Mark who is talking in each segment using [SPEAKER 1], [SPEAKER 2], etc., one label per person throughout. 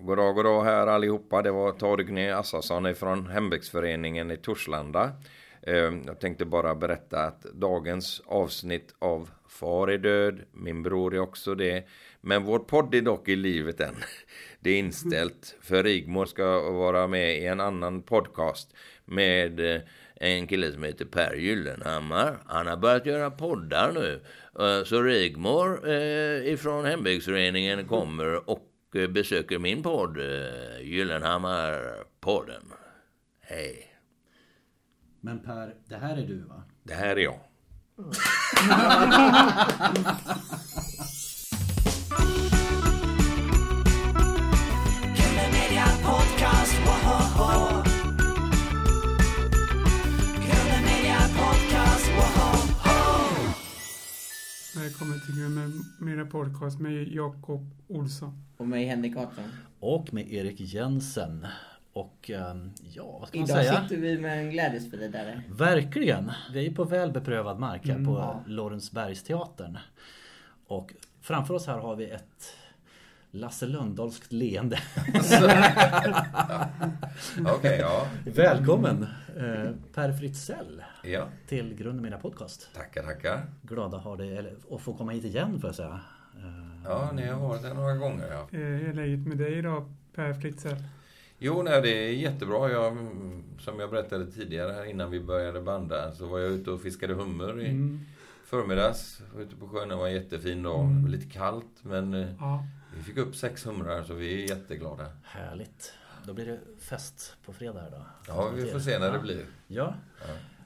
[SPEAKER 1] Goddag, goddag här allihopa. Det var Torgny Assarsson från hembygdsföreningen i Torslanda. Eh, Jag tänkte bara berätta att dagens avsnitt av Far är död, min bror är också det. Men vår podd är dock i livet än. Det är inställt, för Rigmor ska vara med i en annan podcast med eh, en kille som heter Per Gyllenhammar. Han har börjat göra poddar nu. Eh, Så Rigmor eh, ifrån hembygdsföreningen kommer och eh, besöker min podd, eh, Gyllenhammar-podden. Hej,
[SPEAKER 2] Men Per, det här är du va?
[SPEAKER 1] det här är jag.
[SPEAKER 3] Media Podcast, woho! Media Podcast, woho!
[SPEAKER 4] Välkommen till Gummi Mera Podcast med Jakob Olsson.
[SPEAKER 5] Och mig Henrik Artsson.
[SPEAKER 2] Och med Erik Jensen. Och ehm, ja, vad ska man
[SPEAKER 5] Idag
[SPEAKER 2] säga?
[SPEAKER 5] sitter vi med en glädjespridare.
[SPEAKER 2] Verkligen! Vi är på väl beprövad mark här
[SPEAKER 1] Mm.
[SPEAKER 2] på
[SPEAKER 5] ja.
[SPEAKER 2] Lorensbergsteatern. Och framför oss här har vi ett Lasse Lönndahlskt leende.
[SPEAKER 1] Okej, ja.
[SPEAKER 2] Välkommen eh, Per Fritzell
[SPEAKER 1] ja.
[SPEAKER 2] till Grunden Mina Podcast.
[SPEAKER 1] Tackar, tackar.
[SPEAKER 2] Glada har det, eller, att få komma hit igen får jag säga. Eh,
[SPEAKER 1] Ja, ni har varit där några gånger. Ja.
[SPEAKER 4] Eh, Hur är läget med dig idag Per Fritzell?
[SPEAKER 1] Jo, nej, det är jättebra. Jag, som jag berättade tidigare här innan vi började banda så var jag ute och fiskade hummer i
[SPEAKER 4] Mm.
[SPEAKER 1] förmiddags. Var ute på sjön. Det var en jättefin dag. Det var lite kallt, men eh,
[SPEAKER 4] Ja,
[SPEAKER 1] vi fick upp sex humrar så vi är jätteglada.
[SPEAKER 2] Härligt. Då blir det fest på fredag här då.
[SPEAKER 1] Ja, vi får se när det blir.
[SPEAKER 2] Ja.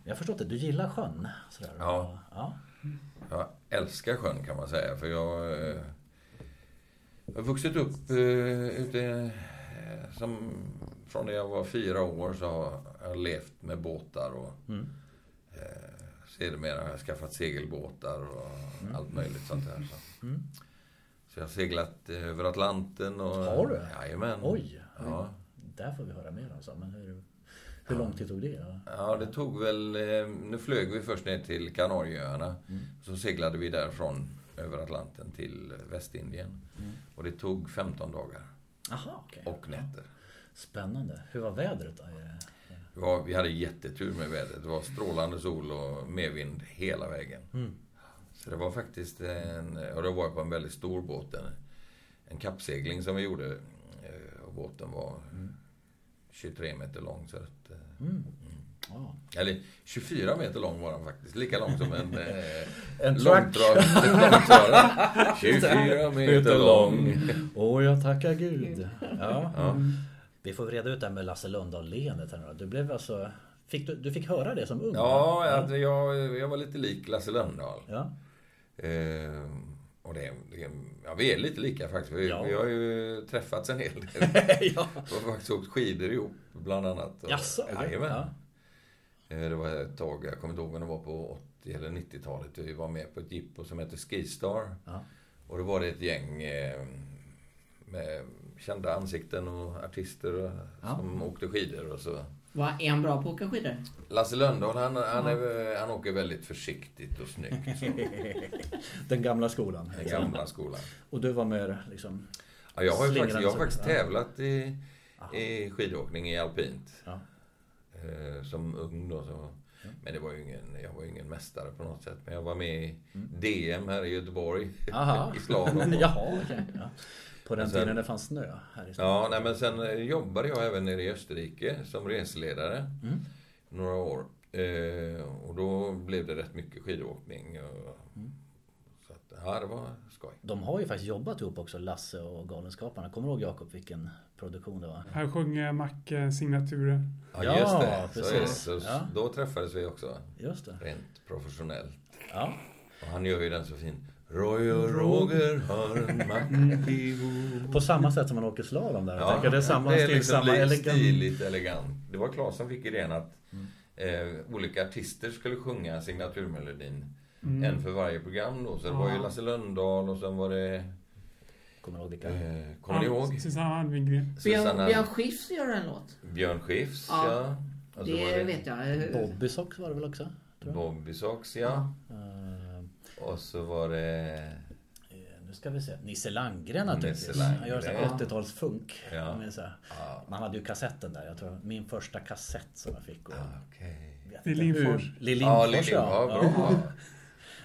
[SPEAKER 2] Jag har förstått det. Du gillar sjön? Sådär.
[SPEAKER 1] Ja.
[SPEAKER 2] ja.
[SPEAKER 1] Jag älskar sjön kan man säga, för jag eh, jag har vuxit upp eh, ute eh, som, från när jag var fyra år så har jag levt med båtar och
[SPEAKER 2] Mm.
[SPEAKER 1] eh, sedermera har jag skaffat segelbåtar och allt möjligt sånt där. Så.
[SPEAKER 2] Mm.
[SPEAKER 1] så jag har seglat eh, över Atlanten och...
[SPEAKER 2] Har du?
[SPEAKER 1] Jajamän.
[SPEAKER 2] Oj!
[SPEAKER 1] Ja.
[SPEAKER 2] Där får vi höra mer alltså. Men hur, hur lång tid tog det? Ja.
[SPEAKER 1] Ja, det tog väl... eh, Nu flög vi först ner till Kanarieöarna.
[SPEAKER 2] Mm.
[SPEAKER 1] Så seglade vi därifrån över Atlanten till eh, Västindien. Och det tog 15 dagar
[SPEAKER 2] Aha, okej.
[SPEAKER 1] och nätter.
[SPEAKER 2] Spännande. Hur var vädret? då? Är det-
[SPEAKER 1] Det var- Vi hade jättetur med vädret. Det var strålande sol och medvind hela vägen. Så det var faktiskt en... Och det var på en väldigt stor båt. En, en kappsegling som vi gjorde. eh, Och båten var 23 meter lång. Så att, eh,
[SPEAKER 2] Mm. Ja.
[SPEAKER 1] Eller 24 meter lång var den faktiskt. Lika lång som en... Eh,
[SPEAKER 2] En
[SPEAKER 1] långtradare. långtradare. 24 meter lång.
[SPEAKER 2] Åh, jag tackar gud. Ja. Vi får reda ut det här med Lasse Lundahl-leendet. här nu då. Du blev alltså... Fick du, du fick höra det som ung?
[SPEAKER 1] Ja, alltså jag, jag var lite lik Lasse Lönndahl.
[SPEAKER 2] Ja.
[SPEAKER 1] Eh, och det, det, ja, vi är lite lika faktiskt. Vi,
[SPEAKER 2] Ja.
[SPEAKER 1] vi har ju träffats en hel del.
[SPEAKER 2] ja.
[SPEAKER 1] Vi har faktiskt åkt skidor ihop, bland annat. Och-
[SPEAKER 2] Jaså?
[SPEAKER 1] Jajamän.
[SPEAKER 2] Ja.
[SPEAKER 1] Eh, Det var ett tag, jag kommer inte ihåg om det var på 80 eller 90-talet. Vi var med på ett jippo som hette Skistar.
[SPEAKER 2] Ja.
[SPEAKER 1] Och då var det ett gäng eh, med kända ansikten och artister och, som åkte skidor. Och så.
[SPEAKER 5] Vad är han bra på att åka skidor?
[SPEAKER 1] Lasse Lönndahl, han, han, är, han åker väldigt försiktigt och snyggt. Så,
[SPEAKER 2] Den gamla skolan. liksom.
[SPEAKER 1] den gamla skolan.
[SPEAKER 2] Och du var med liksom...
[SPEAKER 1] Ja, jag har ju
[SPEAKER 2] Slingrande
[SPEAKER 1] faktiskt, jag har
[SPEAKER 2] så-
[SPEAKER 1] faktiskt
[SPEAKER 2] ja.
[SPEAKER 1] tävlat i, i skidåkning i alpint.
[SPEAKER 2] Ja.
[SPEAKER 1] Eh, som ung då. Så. Men det var ju ingen, jag var ju ingen mästare på något sätt. Men jag var med i DM här i Göteborg.
[SPEAKER 2] Mm. Aha.
[SPEAKER 1] Typ, I slalom.
[SPEAKER 2] Jaha, okej. Ja. På den
[SPEAKER 1] Och sen-
[SPEAKER 2] tiden det fanns snö här i Stockholm.
[SPEAKER 1] Ja, nej, men sen eh, jobbade jag även nere i Österrike som reseledare.
[SPEAKER 2] Mm.
[SPEAKER 1] Några år. Eh, och då blev det rätt mycket skidåkning. Och,
[SPEAKER 2] Mm.
[SPEAKER 1] Så att, ja, det var skoj.
[SPEAKER 2] De har ju faktiskt jobbat ihop också, Lasse och Galenskaparna. Kommer du ihåg Jakob vilken produktion det var?
[SPEAKER 4] här sjunger Macke signaturen.
[SPEAKER 1] Ja,
[SPEAKER 2] Ja,
[SPEAKER 1] just det. Så är det.
[SPEAKER 2] precis.
[SPEAKER 1] Så,
[SPEAKER 2] Ja.
[SPEAKER 1] Då träffades vi också.
[SPEAKER 2] Just det.
[SPEAKER 1] Rent professionellt.
[SPEAKER 2] Ja.
[SPEAKER 1] Och han gör ju den så fin. Roy och Roger har
[SPEAKER 2] Mm.
[SPEAKER 1] en mack ihop.
[SPEAKER 2] På samma sätt som man åker slalom där. Ja, det är samma
[SPEAKER 1] det är
[SPEAKER 2] stil,
[SPEAKER 1] liksom
[SPEAKER 2] samma
[SPEAKER 1] li-
[SPEAKER 2] elegant. Mm.
[SPEAKER 1] stiligt elegant. Det var Claes som fick idén att eh, olika artister skulle sjunga signaturmelodin.
[SPEAKER 2] Mm.
[SPEAKER 1] En för varje program då. Så det var ju Lasse Lundahl och sen var det...
[SPEAKER 2] Kommer du ihåg vilka?
[SPEAKER 1] Eh, kommer ni
[SPEAKER 4] Ja,
[SPEAKER 1] ihåg?
[SPEAKER 4] Susanne Almgren.
[SPEAKER 5] Björn,
[SPEAKER 1] Susanna
[SPEAKER 5] Björn Skifs gör en låt.
[SPEAKER 1] Björn Skifs,
[SPEAKER 5] Ja.
[SPEAKER 1] ja. Och så var
[SPEAKER 5] Det vet jag.
[SPEAKER 2] Bobbysock var det väl också? Tror jag.
[SPEAKER 1] Bobby Sox, ja.
[SPEAKER 2] Eh,
[SPEAKER 1] Och så var det...
[SPEAKER 2] eh, nu nu ska vi se. Nisse Landgren naturligtvis.
[SPEAKER 1] Nisse Landgren.
[SPEAKER 2] Han gör så här 80-talsfunk.
[SPEAKER 1] Ja.
[SPEAKER 2] Han är så här- Man hade ju kassetten där. Jag tror min första kassett som jag fick. Och
[SPEAKER 1] Okej.
[SPEAKER 2] vet
[SPEAKER 4] Lill
[SPEAKER 2] inte
[SPEAKER 4] Lindfors.
[SPEAKER 2] hur. Lill
[SPEAKER 1] Ja,
[SPEAKER 2] Lindfors,
[SPEAKER 1] Lilly, ja,
[SPEAKER 2] ja.
[SPEAKER 1] bra.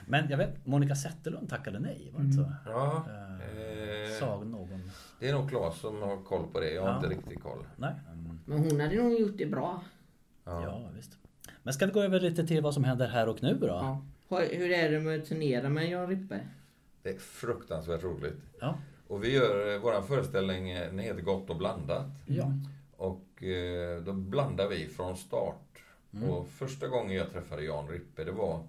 [SPEAKER 2] Men jag vet, Monica Zetterlund tackade nej. Var det inte så?
[SPEAKER 1] Ja,
[SPEAKER 2] Eh,
[SPEAKER 1] eh,
[SPEAKER 2] Sa någon.
[SPEAKER 1] det är nog Claes som har koll på det. Jag har
[SPEAKER 2] Ja.
[SPEAKER 1] inte riktigt koll.
[SPEAKER 2] Nej. Mm,
[SPEAKER 5] Men hon hade nog gjort det bra.
[SPEAKER 1] Ja.
[SPEAKER 2] Ja, visst. Men ska vi gå över lite till vad som händer här och nu då?
[SPEAKER 5] Ja. Hur hur är det med att turnera med Jan Rippe?
[SPEAKER 1] Det är fruktansvärt roligt.
[SPEAKER 2] Ja.
[SPEAKER 1] Och vi gör eh, våran föreställning, eh, den heter Gott och blandat.
[SPEAKER 2] ja.
[SPEAKER 1] Och eh, då blandar vi från start. Och första gången jag träffade Jan Rippe, det var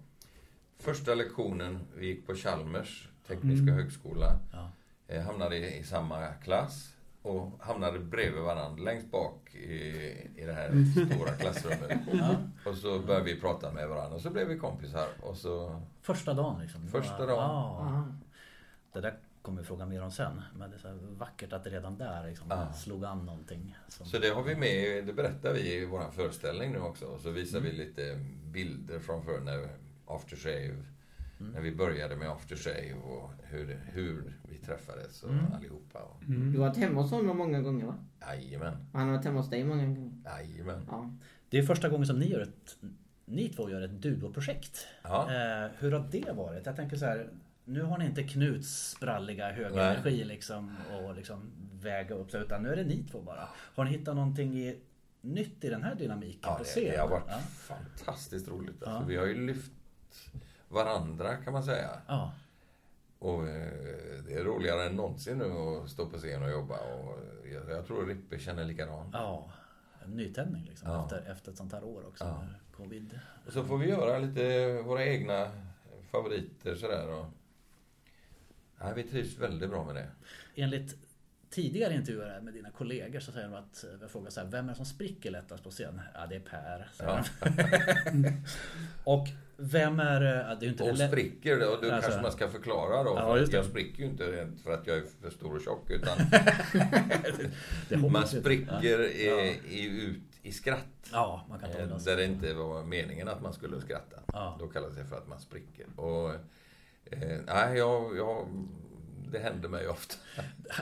[SPEAKER 1] första lektionen vi gick på Chalmers tekniska högskola.
[SPEAKER 2] Ja.
[SPEAKER 1] Eh, hamnade i, i samma klass och hamnade bredvid varandra längst bak i, i det här stora klassrummet. Och så började vi prata med varandra och så blev vi kompisar. Och så,
[SPEAKER 2] Första dagen liksom. Det
[SPEAKER 1] Första
[SPEAKER 2] var-
[SPEAKER 1] dagen.
[SPEAKER 2] Ja. Det där kommer vi fråga mer om sen. Men det är så här vackert att det redan där liksom
[SPEAKER 1] Ja.
[SPEAKER 2] slog an någonting. Som,
[SPEAKER 1] så det har vi med, det berättar vi i vår föreställning nu också. Och så visar
[SPEAKER 2] Mm.
[SPEAKER 1] vi lite bilder från förr när After Shave,
[SPEAKER 2] Mm.
[SPEAKER 1] när vi började med After Shave och hur, hur vi träffades och
[SPEAKER 2] Mm.
[SPEAKER 1] allihopa. Och,
[SPEAKER 5] Du har varit hemma hos honom många gånger va?
[SPEAKER 1] jajamän,
[SPEAKER 5] Och han har varit hemma hos dig många gånger.
[SPEAKER 1] jajamän.
[SPEAKER 5] Ja.
[SPEAKER 2] Det är första gången som ni gör ett, ni två gör ett duoprojekt.
[SPEAKER 1] Ja.
[SPEAKER 2] Eh, hur har det varit? Jag tänker så här, nu har ni inte Knuts spralliga höga
[SPEAKER 1] Nej.
[SPEAKER 2] energi liksom och liksom väga upp sig utan nu är det ni två bara. Har ni hittat någonting i, nytt i den här dynamiken
[SPEAKER 1] Ja,
[SPEAKER 2] på
[SPEAKER 1] det,
[SPEAKER 2] scen?
[SPEAKER 1] det har varit
[SPEAKER 2] Ja.
[SPEAKER 1] fantastiskt roligt. Alltså,
[SPEAKER 2] Ja.
[SPEAKER 1] Vi har ju lyft varandra kan man säga.
[SPEAKER 2] ja.
[SPEAKER 1] Och eh, det är roligare än någonsin nu att stå på scen och jobba. Och jag, jag tror Rippe känner likadant.
[SPEAKER 2] Ja, en nytändning liksom
[SPEAKER 1] Ja.
[SPEAKER 2] efter, efter ett sånt här år också.
[SPEAKER 1] Ja.
[SPEAKER 2] när Covid.
[SPEAKER 1] Och så får vi göra lite våra egna favoriter sådär. Och... Nej, vi trivs väldigt bra med det.
[SPEAKER 2] Enligt tidigare intervjuer här med dina kollegor så säger de att, jag frågar så här, vem är det som spricker lättast på scen? Ja, det är Per. säger
[SPEAKER 1] Ja.
[SPEAKER 2] de. och vem är, ja, det är ju inte det
[SPEAKER 1] Och
[SPEAKER 2] lä-
[SPEAKER 1] spricker, det- och då
[SPEAKER 2] Alltså-
[SPEAKER 1] kanske man ska förklara då.
[SPEAKER 2] Ja,
[SPEAKER 1] för
[SPEAKER 2] just
[SPEAKER 1] att
[SPEAKER 2] det.
[SPEAKER 1] jag spricker ju inte rent för att jag är för stor och tjock. Utan
[SPEAKER 2] det hoppas
[SPEAKER 1] man
[SPEAKER 2] jag.
[SPEAKER 1] spricker i, i, ut i skratt.
[SPEAKER 2] Ja, man kan ta
[SPEAKER 1] Eh,
[SPEAKER 2] det.
[SPEAKER 1] Där det inte var meningen att man skulle skratta.
[SPEAKER 2] Ja.
[SPEAKER 1] Då kallas det för att man spricker. Och, eh, nej, jag, jag, det händer mig ofta.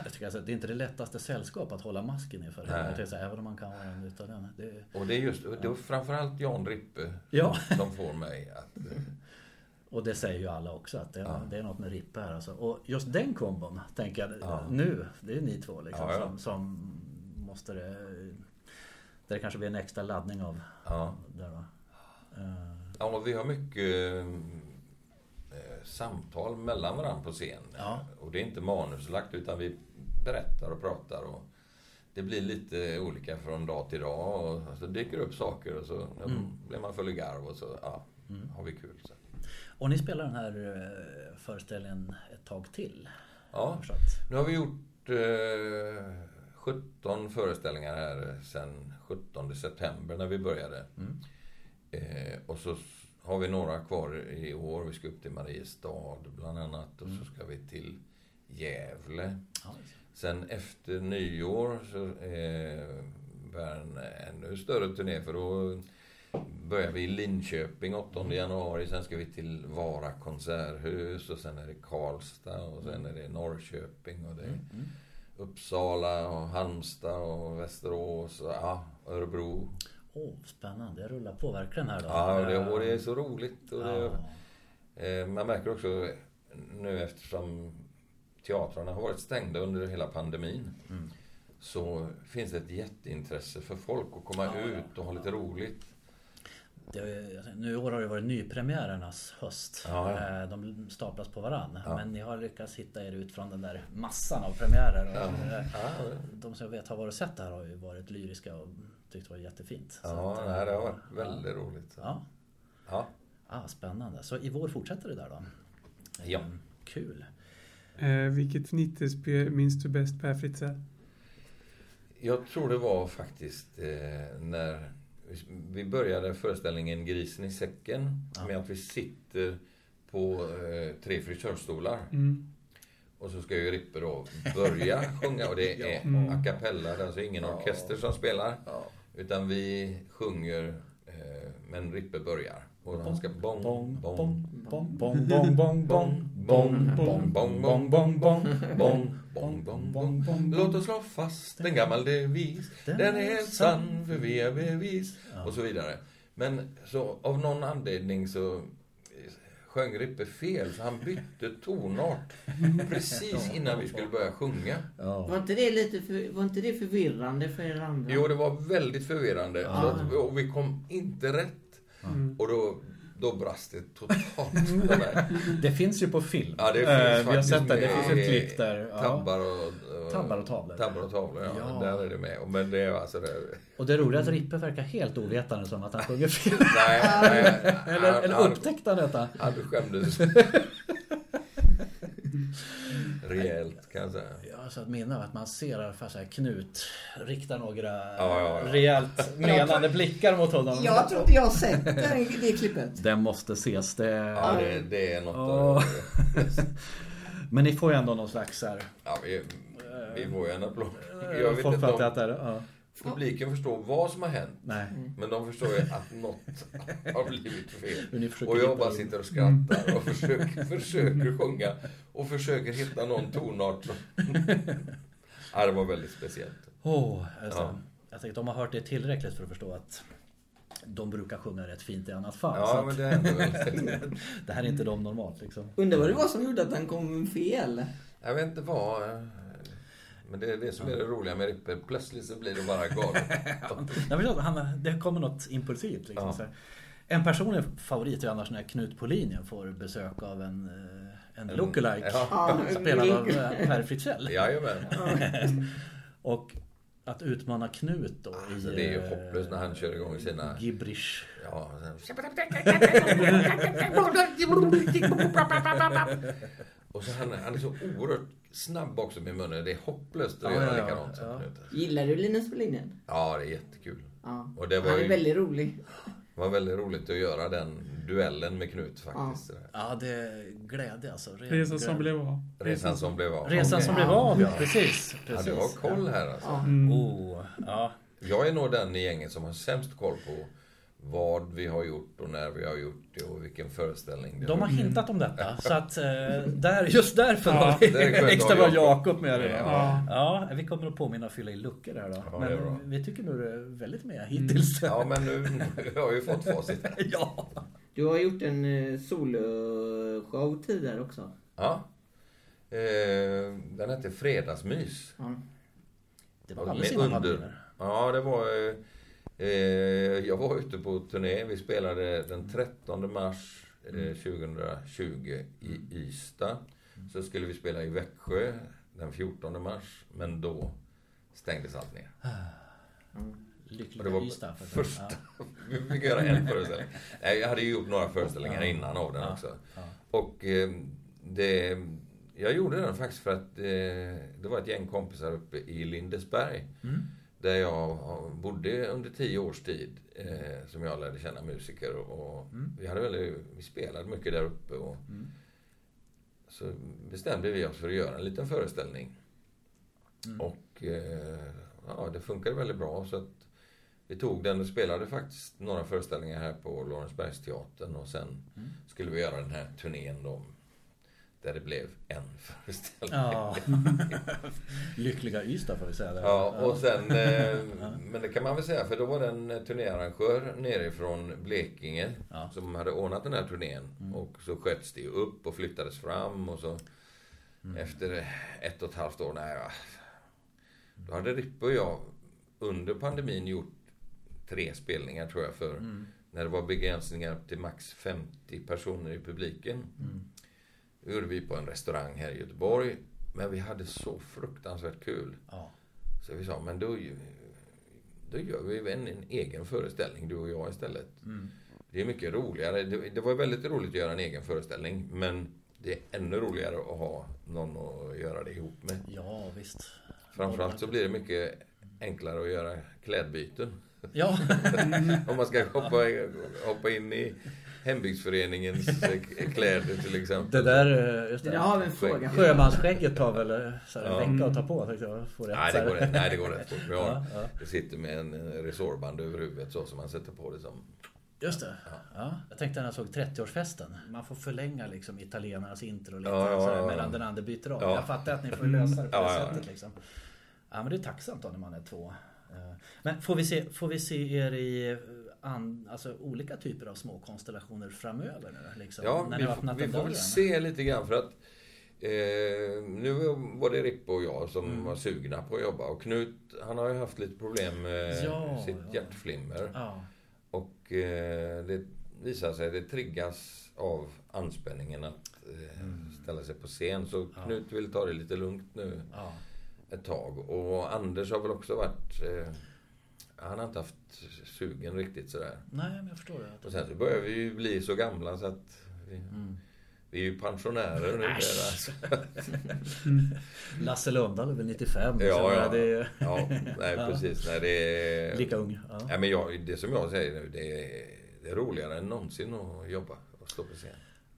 [SPEAKER 2] Jag tycker alltså, det är inte det lättaste sällskap att hålla masken inför.
[SPEAKER 1] Nej.
[SPEAKER 2] Jag tänker så här, Även om man kan vara utan den. Det är...
[SPEAKER 1] Och det är just det är framförallt Jan Rippe
[SPEAKER 2] Ja.
[SPEAKER 1] som får mig att... eh,
[SPEAKER 2] Och det säger ju alla också att det, det är något med Rippe här alltså. Och just den kombon tänker jag nu, det är ju ni två liksom
[SPEAKER 1] Ja, ja.
[SPEAKER 2] Som, som måste det... Där det kanske blir en extra laddning av
[SPEAKER 1] Ja.
[SPEAKER 2] där då. Eh,
[SPEAKER 1] Ja, och vi har mycket eh, samtal mellan varandra på scen.
[SPEAKER 2] Ja.
[SPEAKER 1] Och det är inte manuslagt utan vi berättar och pratar. Och det blir lite olika från dag till dag. Och så dyker det upp saker och så ja, blir man full i garv och så ja, har vi kul. Så.
[SPEAKER 2] Och ni spelar den här eh, föreställningen ett tag till. har
[SPEAKER 1] Ja,
[SPEAKER 2] jag förstått.
[SPEAKER 1] nu har vi gjort eh, 17 föreställningar här sedan 17 september när vi började. Eh, och så s- har vi några kvar i år. Vi ska upp till Mariestad bland annat och så ska vi till Gävle.
[SPEAKER 2] Ja,
[SPEAKER 1] Sen efter nyår så eh, börjar en ännu större turné för då börjar vi i Linköping 8 januari. Sen ska vi till Vara konserthus och sen är det Karlstad och sen är det Norrköping och det är Uppsala och Halmstad och Västerås och ja, Örebro.
[SPEAKER 2] Åh, spännande, det rullar på verkligen här då.
[SPEAKER 1] Ja, och det, och det är så roligt. Och det,
[SPEAKER 2] Ja.
[SPEAKER 1] Eh, Man märker också nu eftersom teatrarna har varit stängda under hela pandemin så finns det ett jätteintresse för folk att komma ut och ha lite roligt.
[SPEAKER 2] Det, är- nu i år har det varit nypremiärernas höst.
[SPEAKER 1] Ja,
[SPEAKER 2] Eh, De staplas på varann. Men ni har lyckats hitta er ut från den där massan av premiärer. Och eh, De som jag vet har varit och sett det här har ju varit lyriska och tyckt det var jättefint. Så
[SPEAKER 1] Ja,
[SPEAKER 2] att, eh,
[SPEAKER 1] nej, det har varit väldigt roligt. Så.
[SPEAKER 2] ja.
[SPEAKER 1] Ja.
[SPEAKER 2] Ah, spännande. Så i vår fortsätter det där då?
[SPEAKER 1] Ja.
[SPEAKER 2] Mm, Kul.
[SPEAKER 4] Eh, vilket fnittespö minns du bäst Per Fritzell?
[SPEAKER 1] Jag tror det var faktiskt eh, när vi började föreställningen Grisen i säcken med att vi sitter på eh, tre frisörstolar.
[SPEAKER 4] Mm.
[SPEAKER 1] Och så ska ju Rippe då börja sjunga och det är a cappella, det är alltså ingen orkester som spelar. Utan vi sjunger, eh, men Rippe börjar. Och han ska bong, bong, bong,
[SPEAKER 2] bong, bong, bong, bong,
[SPEAKER 1] Bong, bong, bong, bong, bong, bong, bong, bong, bong, bong, bong. Låt oss slå fast en gammal devis. Den är helt sann, för vi är bevis. Och så vidare. Men så av någon anledning så sjöng Rippe fel, så han bytte tonart precis innan vi skulle börja sjunga.
[SPEAKER 2] Ja.
[SPEAKER 5] Var inte det lite för, var inte det förvirrande för er andra?
[SPEAKER 1] Jo, det var väldigt förvirrande. Så att, och vi kom inte rätt. Och då, då brast det totalt.
[SPEAKER 2] Det finns ju på film.
[SPEAKER 1] Ja, det finns
[SPEAKER 2] Eh, Vi har
[SPEAKER 1] faktiskt
[SPEAKER 2] sett det. Det
[SPEAKER 1] med
[SPEAKER 2] finns ett
[SPEAKER 1] i
[SPEAKER 2] klipp där. Ja.
[SPEAKER 1] Tabbar och, och,
[SPEAKER 2] Tabbar och tavlor.
[SPEAKER 1] Tabbar och tavlor, ja.
[SPEAKER 2] Ja.
[SPEAKER 1] Där är det med. Men det är alltså det...
[SPEAKER 2] Och det roliga är att Rippe verkar helt ovetande som att han sjunger fel.
[SPEAKER 1] Nej, nej.
[SPEAKER 2] Eller, eller
[SPEAKER 1] han,
[SPEAKER 2] upptäckte han detta?
[SPEAKER 1] han, han skämdes. Rejält, kan jag säga.
[SPEAKER 2] Jag har så ett minne av att man ser ungefär så här Knut riktar några
[SPEAKER 1] Ja, ja, ja.
[SPEAKER 2] rejält menande blickar mot honom.
[SPEAKER 5] Jag tror inte jag har sett den, det klippet.
[SPEAKER 2] Den måste ses. Det...
[SPEAKER 1] Ja, det, det är något... eh,
[SPEAKER 2] Ja. Men ni får ju ändå någon slags så här...
[SPEAKER 1] Ja, vi, vi får ju en applåd. Jag
[SPEAKER 2] Jag
[SPEAKER 1] vet
[SPEAKER 2] folk
[SPEAKER 1] inte
[SPEAKER 2] fattar att
[SPEAKER 1] om
[SPEAKER 2] det är... Ja.
[SPEAKER 1] publiken förstår vad som har hänt.
[SPEAKER 2] Nej.
[SPEAKER 1] Men de förstår ju att något har blivit fel.
[SPEAKER 2] Men ni försöker
[SPEAKER 1] Och jag
[SPEAKER 2] hitta
[SPEAKER 1] bara
[SPEAKER 2] in.
[SPEAKER 1] sitter och skrattar och försöker, försöker sjunga och försöker hitta någon tonart. som- Ja, det var väldigt speciellt.
[SPEAKER 2] Åh, alltså,
[SPEAKER 1] Ja.
[SPEAKER 2] Jag tänkte de har hört det tillräckligt för att förstå att de brukar sjunga rätt fint i annat fall. så
[SPEAKER 1] Ja,
[SPEAKER 2] att,
[SPEAKER 1] men det hände väl.
[SPEAKER 2] det här är inte de normalt liksom.
[SPEAKER 5] Undrar vad det var som gjorde att den kom fel.
[SPEAKER 1] Jag vet inte vad... eh, Men det är det som är det roliga med Ripper. Plötsligt så blir det bara galet.
[SPEAKER 2] Jag förstår, han, det kommer något impulsivt. Liksom,
[SPEAKER 1] Ja.
[SPEAKER 2] så här. En personlig favorit är annars när Knut på linjen får besök av en, eh, en lookalike
[SPEAKER 1] Ja.
[SPEAKER 2] spelad av eh, Per Fritzell.
[SPEAKER 1] Jajamän.
[SPEAKER 2] Och att utmana Knut då
[SPEAKER 1] Alltså,
[SPEAKER 2] i
[SPEAKER 1] det är ju
[SPEAKER 2] eh,
[SPEAKER 1] hopplöst när han kör igång sina...
[SPEAKER 2] gibberish.
[SPEAKER 1] Ja, sen- och så han, han är så oerhört snabb också med munnen. Det är hopplöst att
[SPEAKER 2] Ja,
[SPEAKER 1] göra
[SPEAKER 2] ja, ja.
[SPEAKER 1] likadant som
[SPEAKER 2] Ja.
[SPEAKER 1] Knut.
[SPEAKER 5] Gillar du Linus på linjen?
[SPEAKER 1] Ja, det är jättekul.
[SPEAKER 5] Ja.
[SPEAKER 1] Och det var
[SPEAKER 5] Han
[SPEAKER 1] ju-
[SPEAKER 5] är väldigt rolig.
[SPEAKER 1] Det var väldigt roligt att göra den duellen med Knut faktiskt.
[SPEAKER 2] Ja, det är glädje alltså. Ren
[SPEAKER 4] Resan
[SPEAKER 2] glädje.
[SPEAKER 4] som blev av.
[SPEAKER 1] Resan som blev av.
[SPEAKER 2] Resan som blev av, ja. Precis.
[SPEAKER 1] Ja,
[SPEAKER 2] precis.
[SPEAKER 1] du har koll här alltså.
[SPEAKER 2] Oh, ja.
[SPEAKER 1] Jag är nog den i gänget som har sämst koll på vad vi har gjort och när vi har gjort det och vilken föreställning det
[SPEAKER 2] De har
[SPEAKER 1] var.
[SPEAKER 2] hintat om detta. Så att eh, där, just därför har vi
[SPEAKER 1] det är skönt
[SPEAKER 2] extra
[SPEAKER 1] att ha
[SPEAKER 2] bra Jakob med det.
[SPEAKER 1] Ja.
[SPEAKER 2] Ja, vi kommer att påminna och fylla i luckor här då.
[SPEAKER 1] Ja, det är bra.
[SPEAKER 2] Men vi tycker nog det är väldigt
[SPEAKER 5] Mm.
[SPEAKER 2] med hittills.
[SPEAKER 1] Ja, men nu, nu har jag ju fått facit.
[SPEAKER 2] Ja.
[SPEAKER 5] Du har gjort en eh, soloshow tidigare också.
[SPEAKER 1] Ja. Eh, den hette Fredagsmys.
[SPEAKER 5] Ja.
[SPEAKER 2] Det var
[SPEAKER 1] Ja,
[SPEAKER 2] alldeles
[SPEAKER 1] med
[SPEAKER 2] innan
[SPEAKER 1] under.
[SPEAKER 2] pandemin.
[SPEAKER 1] Ja, det var... eh, Eh, jag var ute på turné. Vi spelade den 13 mars
[SPEAKER 2] Mm.
[SPEAKER 1] eh, 2020 i Ystad. Så skulle vi spela i Växjö den 14 mars, men då stängdes allt ner. Och det
[SPEAKER 2] Lyckliga
[SPEAKER 1] var
[SPEAKER 2] Ystad. för att-
[SPEAKER 1] första...
[SPEAKER 2] Ja.
[SPEAKER 1] Vi fick göra en föreställning. Nej, Jag hade ju gjort några föreställningar innan av den också. Och eh, det... Jag gjorde den faktiskt för att eh, det var ett gäng kompisar uppe i Lindesberg.
[SPEAKER 2] Mm,
[SPEAKER 1] Där jag bodde under tio års tid. Eh, som jag lärde känna musiker. Och och
[SPEAKER 2] mm,
[SPEAKER 1] vi, hade väl, vi spelade mycket där uppe. Och Så bestämde vi oss för att göra en liten föreställning.
[SPEAKER 2] mm.
[SPEAKER 1] Och eh, ja, det funkade väldigt bra. Så att vi tog den och spelade faktiskt några föreställningar här på Lorensbergsteatern och sen skulle vi göra den här turnén då. Där det blev en föreställning.
[SPEAKER 2] Ja. Lyckliga Ystad får vi säga. där.
[SPEAKER 1] Ja, och sen, eh, men det kan man väl säga, för då var det en turnéarrangör nerifrån Blekinge
[SPEAKER 2] Ja. Mm.
[SPEAKER 1] som hade ordnat den här turnén. Och så sköts det ju upp och flyttades fram och så
[SPEAKER 2] Mm.
[SPEAKER 1] efter ett och ett halvt år, nej, va. då hade Rippe och jag under pandemin gjort tre spelningar tror jag för
[SPEAKER 2] Mm.
[SPEAKER 1] när det var begränsningar till max 50 personer i publiken.
[SPEAKER 2] mm.
[SPEAKER 1] Det gjorde vi på en restaurang här i Göteborg. Men vi hade så fruktansvärt kul.
[SPEAKER 2] Ja.
[SPEAKER 1] Så vi sa, men då, ju- då gör vi en, en egen föreställning, du och jag istället.
[SPEAKER 2] Mm.
[SPEAKER 1] Det är mycket roligare. Det, det var väldigt roligt att göra en egen föreställning, men det är ännu roligare att ha någon att göra det ihop med.
[SPEAKER 2] ja, visst.
[SPEAKER 1] Framförallt så blir det mycket enklare att göra klädbyten.
[SPEAKER 2] Ja,
[SPEAKER 1] Om man ska hoppa, hoppa in i hembygdsföreningens eh, kläder till
[SPEAKER 2] det
[SPEAKER 1] exempel.
[SPEAKER 2] där... eh, Just
[SPEAKER 5] Det
[SPEAKER 2] det.
[SPEAKER 5] där har vi en fråga för.
[SPEAKER 2] Sjömansskägget tar väl eh, så här, en vecka att ta på. tänkte jag. Får rätt
[SPEAKER 1] Nej,
[SPEAKER 2] så
[SPEAKER 1] det
[SPEAKER 2] här.
[SPEAKER 1] går rätt, nej, det går rätt fort. Vi har,
[SPEAKER 2] Ja, ja.
[SPEAKER 1] Det sitter med en eh, resorband över huvudet så som man sätter på det som
[SPEAKER 2] Just det. Ja, jag tänkte när jag såg 30-årsfesten. Man får förlänga liksom italienarnas intro lite
[SPEAKER 1] Ja, ja,
[SPEAKER 2] sådär,
[SPEAKER 1] ja, ja.
[SPEAKER 2] medan den andra byter om.
[SPEAKER 1] Ja.
[SPEAKER 2] Jag fattar att ni får lösa det på det
[SPEAKER 1] Ja, ja, ja.
[SPEAKER 2] sättet. Liksom. Ja, men det är tacksamt då när man är två. Eh, Men får vi se, får vi se er i eh, an, alltså, olika typer av små konstellationer framöver? Nu, liksom,
[SPEAKER 1] Ja,
[SPEAKER 2] när
[SPEAKER 1] vi,
[SPEAKER 2] ni har
[SPEAKER 1] får-
[SPEAKER 2] öppnat
[SPEAKER 1] vi
[SPEAKER 2] den
[SPEAKER 1] får
[SPEAKER 2] dörren?
[SPEAKER 1] väl se lite grann för att eh, nu var det Rippe och jag som
[SPEAKER 2] Mm.
[SPEAKER 1] var sugna på att jobba och Knut han har ju haft lite problem med
[SPEAKER 2] Ja,
[SPEAKER 1] sitt
[SPEAKER 2] ja.
[SPEAKER 1] hjärtflimmer
[SPEAKER 2] Ja,
[SPEAKER 1] och eh, det visar sig, det triggas av anspänningen att eh,
[SPEAKER 2] Mm.
[SPEAKER 1] ställa sig på scen så Knut vill ta det lite lugnt nu
[SPEAKER 2] ja.
[SPEAKER 1] ett tag och Anders har väl också varit eh, han har inte haft sugen riktigt sådär.
[SPEAKER 2] Nej, men jag förstår det.
[SPEAKER 1] Och sen så börjar vi ju bli så gamla så att vi, vi är ju pensionärer nu.
[SPEAKER 2] Mm. Äsch! Lasse Lundahl är väl 95?
[SPEAKER 1] Ja,
[SPEAKER 2] så
[SPEAKER 1] ja.
[SPEAKER 2] Det är
[SPEAKER 1] ja, nej precis. Nej, det är...
[SPEAKER 2] lika ung. Ja.
[SPEAKER 1] Nej, men jag, det som jag säger nu, det är, det är roligare än någonsin att jobba och stå på scen.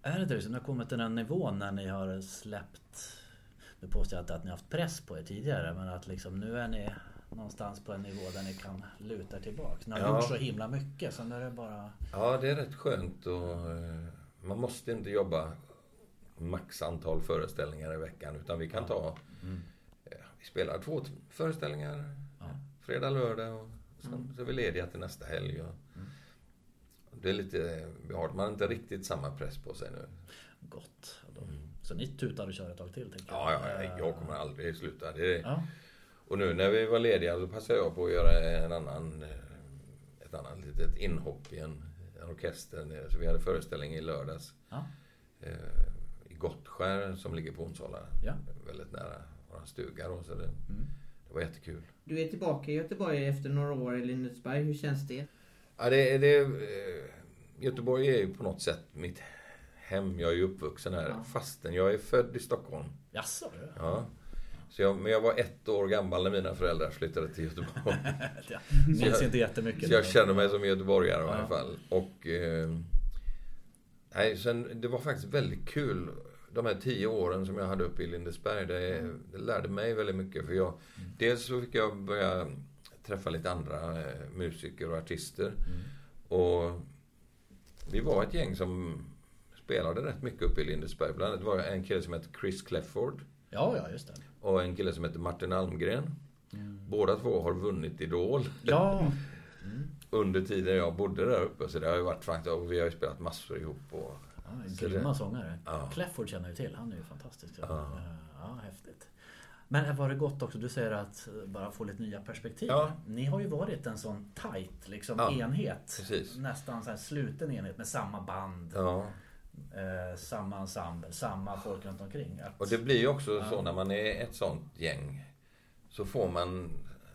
[SPEAKER 2] Är det det som har kommit till den nivån när ni har släppt... Nu påstår jag inte att ni har haft press på er tidigare men att liksom nu är ni någonstans på en nivå där ni kan luta er tillbaka. Ni har
[SPEAKER 1] Ja.
[SPEAKER 2] gjort så himla mycket så nu är det bara...
[SPEAKER 1] Ja, det är rätt skönt och eh, man måste inte jobba max antal föreställningar i veckan utan vi kan ta... ja, Vi spelar två t- föreställningar fredag, lördag och sen så är vi lediga till nästa helg. Och, Det är lite... Vi har, man har inte riktigt samma press på sig nu.
[SPEAKER 2] Gott. Då- Så ni tutar och kör ett tag till? Tänker
[SPEAKER 1] Mm. Ja, ja,
[SPEAKER 2] Eh,
[SPEAKER 1] ja, jag kommer aldrig sluta. Det är,
[SPEAKER 2] ja.
[SPEAKER 1] Och nu när vi var lediga så passade jag på att göra en annan, eh, ett annat litet inhopp i en, en orkester. nere. Så vi hade föreställning i lördags
[SPEAKER 2] Ja.
[SPEAKER 1] eh, i Gottskär som ligger på Onsala.
[SPEAKER 2] Ja.
[SPEAKER 1] Väldigt nära vår stuga då, så det,
[SPEAKER 2] Mm.
[SPEAKER 1] det var jättekul.
[SPEAKER 5] Du är tillbaka i Göteborg efter några år i Lindesberg. Hur känns det?
[SPEAKER 1] Ja, det, det, eh, Göteborg är ju på något sätt mitt hem. Jag är ju uppvuxen här fastän jag är född i Stockholm.
[SPEAKER 2] Jaså? du?
[SPEAKER 1] Ja. Så jag, men jag var ett år gammal när mina föräldrar flyttade till Göteborg.
[SPEAKER 2] Jag minns inte jättemycket.
[SPEAKER 1] Så jag känner mig som göteborgare i alla fall. Och... Eh, nej, sen, det var faktiskt väldigt kul. De här tio åren som jag hade uppe i Lindesberg, det, det lärde mig väldigt mycket. För jag, dels så fick jag börja träffa lite andra eh, musiker och artister.
[SPEAKER 2] Mm.
[SPEAKER 1] Och vi var ett gäng som spelade rätt mycket uppe i Lindesberg. Bland annat var det en kille som hette Chris Clefford
[SPEAKER 2] Ja, ja, just det.
[SPEAKER 1] och en kille som hette Martin Almgren. Båda två har vunnit Idol
[SPEAKER 2] Ja,
[SPEAKER 1] under tiden jag bodde där uppe. Så det har ju varit faktiskt, och vi har ju spelat massor ihop. Och,
[SPEAKER 2] Ja, en
[SPEAKER 1] Så
[SPEAKER 2] grymma sångare.
[SPEAKER 1] Ja.
[SPEAKER 2] Clefford känner vi till. Han är ju fantastisk.
[SPEAKER 1] Ja.
[SPEAKER 2] Ja. ja, häftigt. Men var det gott också, du säger att eh, bara få lite nya perspektiv.
[SPEAKER 1] Ja.
[SPEAKER 2] Ni har ju varit en sån tight liksom,
[SPEAKER 1] Ja,
[SPEAKER 2] enhet.
[SPEAKER 1] precis.
[SPEAKER 2] Nästan så här sluten enhet med samma band,
[SPEAKER 1] ja.
[SPEAKER 2] eh, samma ensemble, samma folk runt omkring. Att,
[SPEAKER 1] och det blir ju också så när man är ett sånt gäng. Så får man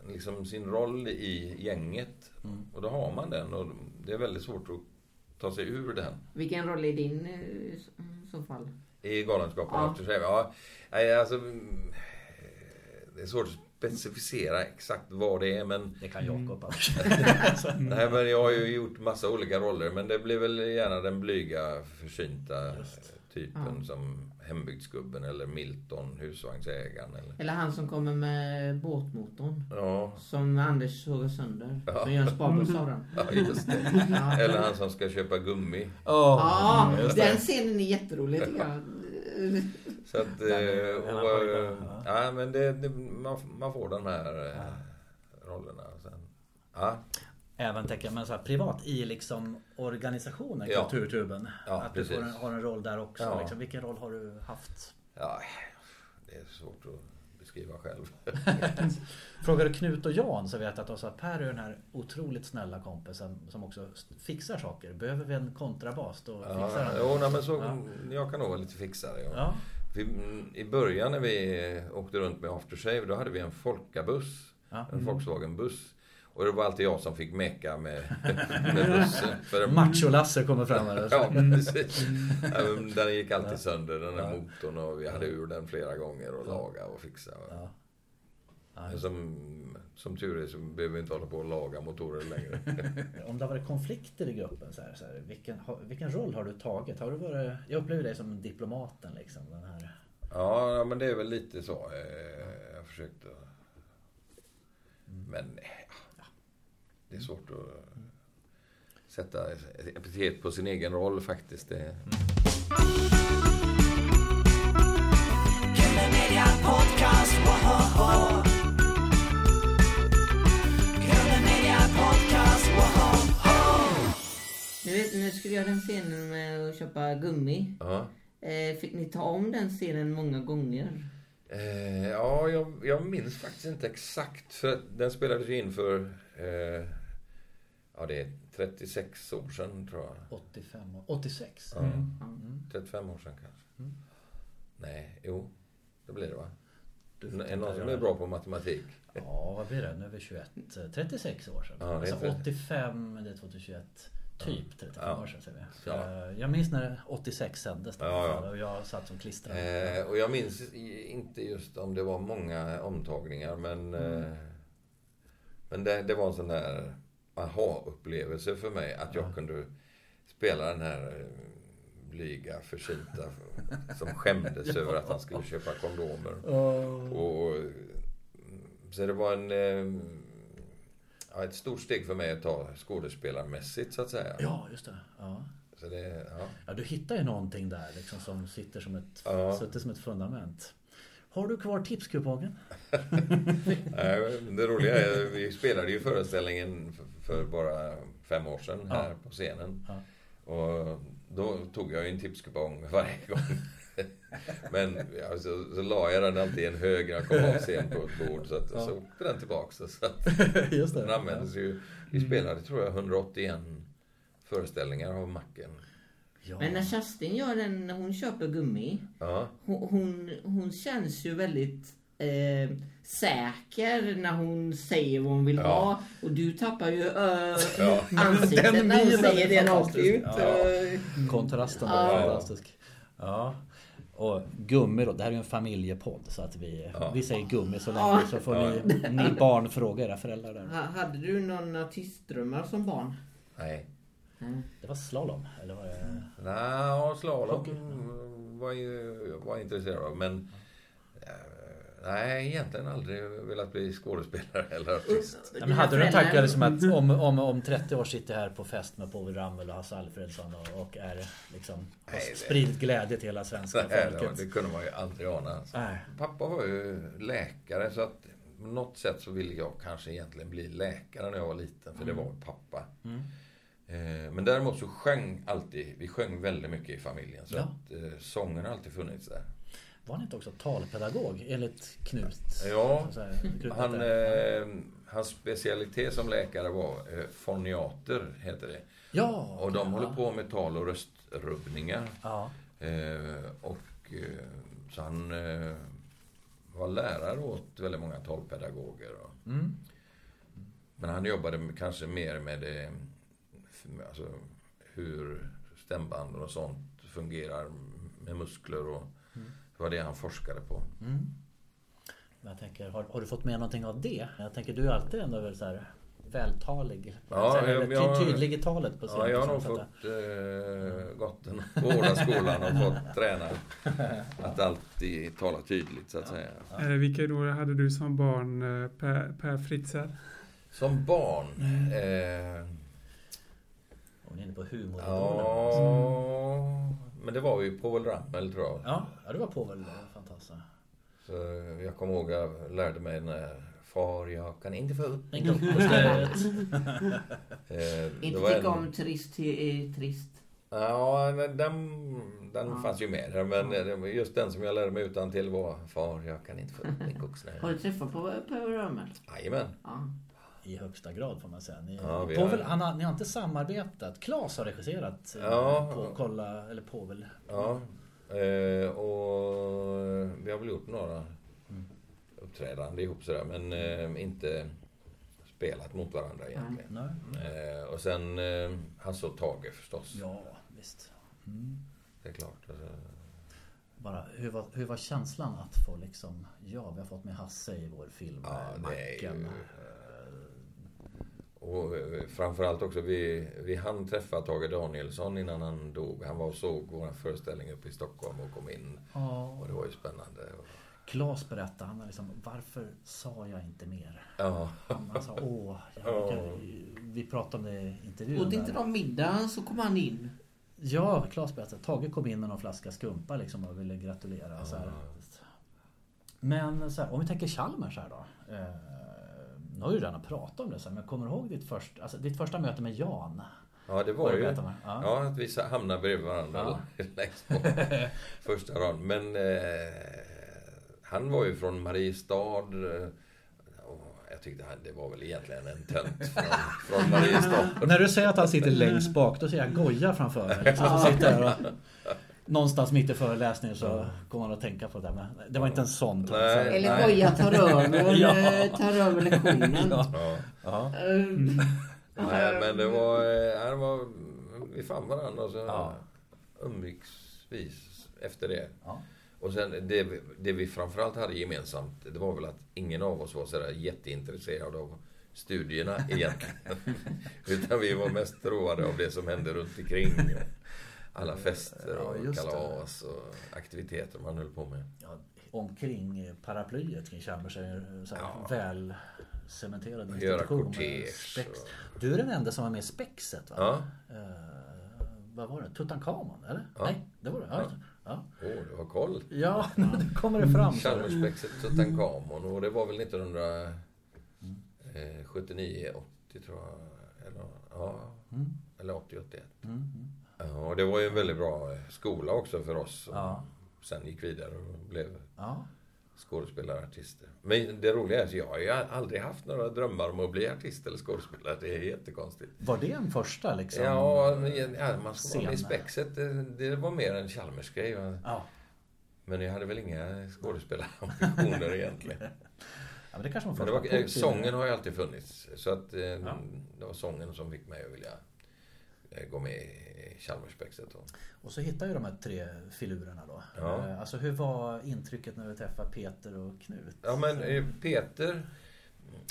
[SPEAKER 1] liksom sin roll i gänget. Och då har man den. Och det är väldigt svårt att ta sig ur den.
[SPEAKER 5] Vilken roll är din eh, s- i så fall?
[SPEAKER 1] I Galenskaparna ja. After
[SPEAKER 5] Ja.
[SPEAKER 1] Shave. Ja, nej, alltså, mm, det är svårt att specificera exakt vad det är. Men
[SPEAKER 2] det kan Jakob annars.
[SPEAKER 1] Nej, men jag har ju gjort massa olika roller, men det blir väl gärna den blyga, försynta typen som hembygdsgubben eller Milton, husvagnsägaren. Eller...
[SPEAKER 5] Eller han som kommer med båtmotorn.
[SPEAKER 1] Ja,
[SPEAKER 5] Som Anders såg sönder. Som gör en spabels av den.
[SPEAKER 1] ja, just det.
[SPEAKER 5] Ja.
[SPEAKER 1] Eller han som ska köpa gummi.
[SPEAKER 5] Ja, den scenen är jätterolig tycker jag.
[SPEAKER 1] Så att... Eh, och, eh, ja, men det, det, man, man får de här eh, rollerna. Sen. Ja,
[SPEAKER 2] Även tänker jag, men så här, privat i liksom organisationen
[SPEAKER 1] Ja.
[SPEAKER 2] Kulturtuben.
[SPEAKER 1] Ja,
[SPEAKER 2] att du får en,
[SPEAKER 1] precis.
[SPEAKER 2] har en roll där också.
[SPEAKER 1] Ja.
[SPEAKER 2] Liksom, vilken roll har du haft?
[SPEAKER 1] ja, det är svårt att beskriva själv.
[SPEAKER 2] Frågar du Knut och Jan så vet jag att de sa att Per är den här otroligt snälla kompisen som också fixar saker. Behöver vi en kontrabas då fixar
[SPEAKER 1] Ja,
[SPEAKER 2] han det.
[SPEAKER 1] jo, nej, men så, jag kan nog vara lite fixare. Ja.
[SPEAKER 2] Ja.
[SPEAKER 1] Vi, mm, I början när vi eh, åkte runt med Aftershave, då hade vi en Folkabuss.
[SPEAKER 2] Ja. Mm.
[SPEAKER 1] En Volkswagenbuss. Och det var alltid jag som fick meka med, med bussen. För den,
[SPEAKER 2] Macho-Lasse kommer fram här.
[SPEAKER 1] ja, precis. Ja, men Den gick alltid sönder, den där motorn. Och vi hade ur den flera gånger och laga och fixa.
[SPEAKER 2] Ja.
[SPEAKER 1] Men Som, som tur är så behöver vi inte hålla på och laga motorer längre.
[SPEAKER 2] Om det har varit konflikter i gruppen, så här, så här, vilken, ha- vilken roll har du tagit? Har du varit, jag upplever dig som diplomaten. Liksom, den här.
[SPEAKER 1] Ja, ja, men det är väl lite så. eh, Jag försökte... eh, Men nej, ja. det är svårt att sätta epitet på sin egen roll faktiskt. Det,
[SPEAKER 3] Killer Media Podcast, woho! Killer Media Podcast, woho!
[SPEAKER 5] Ni vet när jag skulle göra den scenen med att köpa gummi.
[SPEAKER 1] ja.
[SPEAKER 5] Eh, fick ni ta om den scenen många gånger?
[SPEAKER 1] Eh, ja, jag, jag minns faktiskt inte exakt. För att den spelades ju in för... Eh, ja, det är 36 år sedan tror jag.
[SPEAKER 2] 85 och 86.
[SPEAKER 1] Ja, 35 år sedan kanske. Nej, jo. Det blir det va?
[SPEAKER 2] Du
[SPEAKER 1] Är
[SPEAKER 2] får
[SPEAKER 1] det någon
[SPEAKER 2] titta
[SPEAKER 1] som
[SPEAKER 2] där.
[SPEAKER 1] är bra på matematik?
[SPEAKER 2] Ja, vad blir det? Nu är vi 21. eh, 36 år sedan.
[SPEAKER 1] Ja, det är
[SPEAKER 2] alltså
[SPEAKER 1] inte-
[SPEAKER 2] 85, det är 2021. Typ 35
[SPEAKER 1] Ja.
[SPEAKER 2] år sedan säger vi.
[SPEAKER 1] Ja.
[SPEAKER 2] Eh, Jag minns när 86 sändes.
[SPEAKER 1] Ja, ja.
[SPEAKER 2] Och jag satt som klistrad.
[SPEAKER 1] Eh, och jag minns i- inte just om det var många omtagningar men... Eh, men det, det var en sån där aha-upplevelse för mig att jag kunde spela den här eh, blyga, försynta som skämdes över att han skulle köpa kondomer.
[SPEAKER 2] Eh,
[SPEAKER 1] Och, och, så det var en... Eh, ja, ett stort steg för mig att ta skådespelarmässigt så att säga.
[SPEAKER 2] Ja, just det. Ja.
[SPEAKER 1] Så det, ja.
[SPEAKER 2] Ja, du hittar ju någonting där liksom som sitter som ett,
[SPEAKER 1] Ja.
[SPEAKER 2] sitter som ett fundament. Har du kvar tipskupongen?
[SPEAKER 1] Nej, Det roliga är, vi spelade ju föreställningen f- för bara fem år sedan här på scenen.
[SPEAKER 2] Ja.
[SPEAKER 1] Och då tog jag ju en tipskupong varje gång. Men ja, så, så la jag den alltid i en hög när jag kom av scen på ett bord. Så, att, så åkte den tillbaks. Så att,
[SPEAKER 2] Just
[SPEAKER 1] den användes ju. Vi
[SPEAKER 2] Mm.
[SPEAKER 1] spelade tror jag 181 föreställningar av Macken.
[SPEAKER 2] Ja.
[SPEAKER 5] Men när Kerstin gör den, när hon köper gummi.
[SPEAKER 1] Ja,
[SPEAKER 5] Hon, hon, hon känns ju väldigt eh, säker när hon säger vad hon vill
[SPEAKER 1] Ja.
[SPEAKER 5] ha. Och du tappar ju eh,
[SPEAKER 1] Ja.
[SPEAKER 5] ansiktet
[SPEAKER 2] Den
[SPEAKER 5] när hon
[SPEAKER 2] bilen
[SPEAKER 5] säger
[SPEAKER 2] är
[SPEAKER 5] det rakt
[SPEAKER 2] fantastisk.
[SPEAKER 5] ut.
[SPEAKER 1] Ja.
[SPEAKER 5] Eh,
[SPEAKER 1] Mm.
[SPEAKER 2] Kontrasten där är fantastisk. Ja. Och gummi då, det här är ju en familjepodd så att vi, vi säger gummi så länge så får ni, ni barn fråga era föräldrar där.
[SPEAKER 5] ha- Hade du någon artistdrömmar som barn?
[SPEAKER 1] nej.
[SPEAKER 2] Det var slalom eller vad det
[SPEAKER 1] Mm. Nej, slalom var ju var jag intresserad av. Men eh, nej, egentligen aldrig velat bli skådespelare eller artist.
[SPEAKER 2] Nej, men hade du en tanke liksom att om, om, om 30 år sitter jag här på fest med Povel Ramel och Hasse Alfredson och, och är liksom har
[SPEAKER 1] Nej, det-
[SPEAKER 2] spridit glädje till hela svenska
[SPEAKER 1] Nej, det, var-
[SPEAKER 2] folket.
[SPEAKER 1] det kunde man ju aldrig ana. Alltså.
[SPEAKER 2] Nej.
[SPEAKER 1] Pappa var ju läkare så att på något sätt så ville jag kanske egentligen bli läkare när jag var liten. För det var pappa. Eh, Men däremot så sjöng alltid, vi sjöng väldigt mycket i familjen. Så
[SPEAKER 2] Ja.
[SPEAKER 1] att eh, sången har alltid funnits där.
[SPEAKER 2] Var han inte också talpedagog enligt Knut?
[SPEAKER 1] Ja,
[SPEAKER 2] Så här, Knut
[SPEAKER 1] Han,
[SPEAKER 2] heter-
[SPEAKER 1] eh, hans specialitet som läkare var eh, foniater, heter det.
[SPEAKER 2] ja,
[SPEAKER 1] Och de
[SPEAKER 2] ja.
[SPEAKER 1] håller på med tal och röstrubbningar.
[SPEAKER 2] Ja,
[SPEAKER 1] Eh, och, eh, så han eh, var lärare åt väldigt många talpedagoger. Och,
[SPEAKER 2] Mm.
[SPEAKER 1] Men han jobbade m- kanske mer med det, med, alltså, hur stämbanden och sånt fungerar med muskler och det var det han forskade på.
[SPEAKER 2] men jag tänker, har, har du fått med någonting av det? Jag tänker, du är alltid ändå väl så här vältalig.
[SPEAKER 1] Ja,
[SPEAKER 2] så här,
[SPEAKER 1] jag-
[SPEAKER 2] eller
[SPEAKER 1] jag-
[SPEAKER 2] ty- tydlig i talet på liksom,
[SPEAKER 1] Ja, jag har
[SPEAKER 2] på
[SPEAKER 1] nog
[SPEAKER 2] sätt.
[SPEAKER 1] fått eh, gått den hårda skolan och fått träna att alltid tala tydligt så att säga.
[SPEAKER 4] Eh, vilka då hade du som barn, eh, Per, per Fritzell?
[SPEAKER 1] Som barn? Eh,
[SPEAKER 2] Hon är inne på humoridolen. Ja.
[SPEAKER 1] ja, men det var ju Povel Ramel tror jag.
[SPEAKER 2] Ja, du var på väl eh, fantastiskt.
[SPEAKER 1] Så jag kommer ihåg jag lärde mig när Far, jag kan inte få upp
[SPEAKER 2] Tänk upp på stödet.
[SPEAKER 1] Eh, det var
[SPEAKER 5] Inte tycka
[SPEAKER 1] en-
[SPEAKER 5] om trist, eh, trist.
[SPEAKER 1] Ja, men den, den fanns ju med där, men eh, just den som jag lärde mig utan till var Far, jag kan inte få upp min
[SPEAKER 5] Har
[SPEAKER 1] koksnöre.
[SPEAKER 5] du träffat på Per Römer?
[SPEAKER 1] Jajamän.
[SPEAKER 5] Ja.
[SPEAKER 2] I högsta grad får man säga. Ni,
[SPEAKER 1] Ja, vi
[SPEAKER 2] Povel,
[SPEAKER 1] har-
[SPEAKER 2] han har, ni har inte samarbetat. Claes har regisserat eh,
[SPEAKER 1] Ja.
[SPEAKER 2] på, kolla, eller Povel.
[SPEAKER 1] Ja, eh, och vi har väl gjort några
[SPEAKER 2] Mm.
[SPEAKER 1] uppträdanden ihop sådär, men eh, inte spelat mot varandra egentligen.
[SPEAKER 2] Nej.
[SPEAKER 1] Eh, och sen eh, Hasse och Tage förstås.
[SPEAKER 2] Ja, visst.
[SPEAKER 1] Det är klart. Alltså,
[SPEAKER 2] Bara, hur, var, hur var känslan att få liksom, ja vi har fått med Hasse i vår film,
[SPEAKER 1] Ja,
[SPEAKER 2] eh,
[SPEAKER 1] det är
[SPEAKER 2] Macken.
[SPEAKER 1] ju- och eh, framförallt också, vi, vi hann träffa Tage Danielsson innan han dog. Han var och såg vår föreställning uppe i Stockholm och kom in.
[SPEAKER 2] Ja,
[SPEAKER 1] Och det var ju spännande.
[SPEAKER 2] Claes berättade, han var liksom, varför sa jag inte mer?
[SPEAKER 1] Ja,
[SPEAKER 2] Han sa, åh, jag, jag, vi pratade om det i intervjun.
[SPEAKER 5] Åt inte
[SPEAKER 2] där.
[SPEAKER 5] de middag så kom han in.
[SPEAKER 2] Ja, Claes berättade. Tage kom in med någon flaska skumpa liksom och ville gratulera. Så här. Men så här, om vi tänker Chalmers här då. Eh, nu har vi ju redan pratat om det, så här, men kommer du ihåg ditt, först, alltså, ditt första möte med Jan?
[SPEAKER 1] Ja, det
[SPEAKER 2] Vad
[SPEAKER 1] var
[SPEAKER 2] du
[SPEAKER 1] ju...
[SPEAKER 2] berättar om det. Ja.
[SPEAKER 1] Ja, att vi sa- hamnade bredvid varandra längst bak. Första raden. Men eh, han var ju från Mariestad. eh, och Jag tyckte han, det var väl egentligen en tönt från, från Mariestad.
[SPEAKER 2] När du säger att han sitter längst bak, då ser jag Goja framför mig. Liksom, som sitter här och, någonstans mitt i föreläsningen så kommer man att tänka på det. där. Men det var inte en sån ton.
[SPEAKER 1] Nej,
[SPEAKER 5] Eller
[SPEAKER 1] nej.
[SPEAKER 5] Goja tar över,
[SPEAKER 2] Ja.
[SPEAKER 5] eh, tar över lektionen.
[SPEAKER 1] Ja.
[SPEAKER 2] Ja.
[SPEAKER 5] Eh,
[SPEAKER 1] Nej, men det var... eh, Han var vi fann varandra så
[SPEAKER 2] Ja.
[SPEAKER 1] umgicks efter det.
[SPEAKER 2] Ja.
[SPEAKER 1] Och sen det, vi- det vi framförallt hade gemensamt, det var väl att ingen av oss var sådär jätteintresserad av studierna egentligen. Utan vi var mest roade av det som hände runt omkring. Alla fester och
[SPEAKER 2] Ja, just det.
[SPEAKER 1] kalas och aktiviteter man höll på med.
[SPEAKER 2] Ja, omkring eh, paraplyet kring Chalmers är eh, så här,
[SPEAKER 1] Ja.
[SPEAKER 2] väl cementerad
[SPEAKER 1] Göra
[SPEAKER 2] institution. med
[SPEAKER 1] kortege
[SPEAKER 2] spex. Du är den enda som var med i spexet va?
[SPEAKER 1] Ja.
[SPEAKER 2] Eh, vad var det? Tutankhamon eller?
[SPEAKER 1] Ja.
[SPEAKER 2] Nej, det var det. Ja. Ja,
[SPEAKER 1] Åh, du har koll!
[SPEAKER 2] ja. nu kommer det fram. så.
[SPEAKER 1] Chalmersspexet Tutankhamon och det var väl
[SPEAKER 2] Mm.
[SPEAKER 1] 1979, 80 tror jag. Eller, ja,
[SPEAKER 2] Mm.
[SPEAKER 1] eller 80, 81. Ja, och det var ju en väldigt bra eh, skola också för oss. som
[SPEAKER 2] Ja.
[SPEAKER 1] Sen gick vidare och blev
[SPEAKER 2] Ja.
[SPEAKER 1] skådespelare och artister. Men det roliga är att jag har ju aldrig haft några drömmar om att bli artist eller skådespelare. Det är jättekonstigt.
[SPEAKER 2] Var det en första liksom?
[SPEAKER 1] Ja, men, ja, man ska vara med i
[SPEAKER 2] Scen.
[SPEAKER 1] spexet. Det, det var mer en Chalmers-grej. va?
[SPEAKER 2] Ja.
[SPEAKER 1] Men jag hade väl inga skådespelarambitioner egentligen.
[SPEAKER 2] Ja, men det kanske man
[SPEAKER 1] Men
[SPEAKER 2] får
[SPEAKER 1] det var, eh,
[SPEAKER 2] Positiv-
[SPEAKER 1] sången har ju alltid funnits. Så att eh, det var sången som fick mig att vilja eh, gå med i Chalmersspexet. då.
[SPEAKER 2] Och så hittar ju de här tre filurerna då.
[SPEAKER 1] Ja.
[SPEAKER 2] Eh, Alltså hur var intrycket när du träffade Peter och Knut?
[SPEAKER 1] Ja, men eh, Peter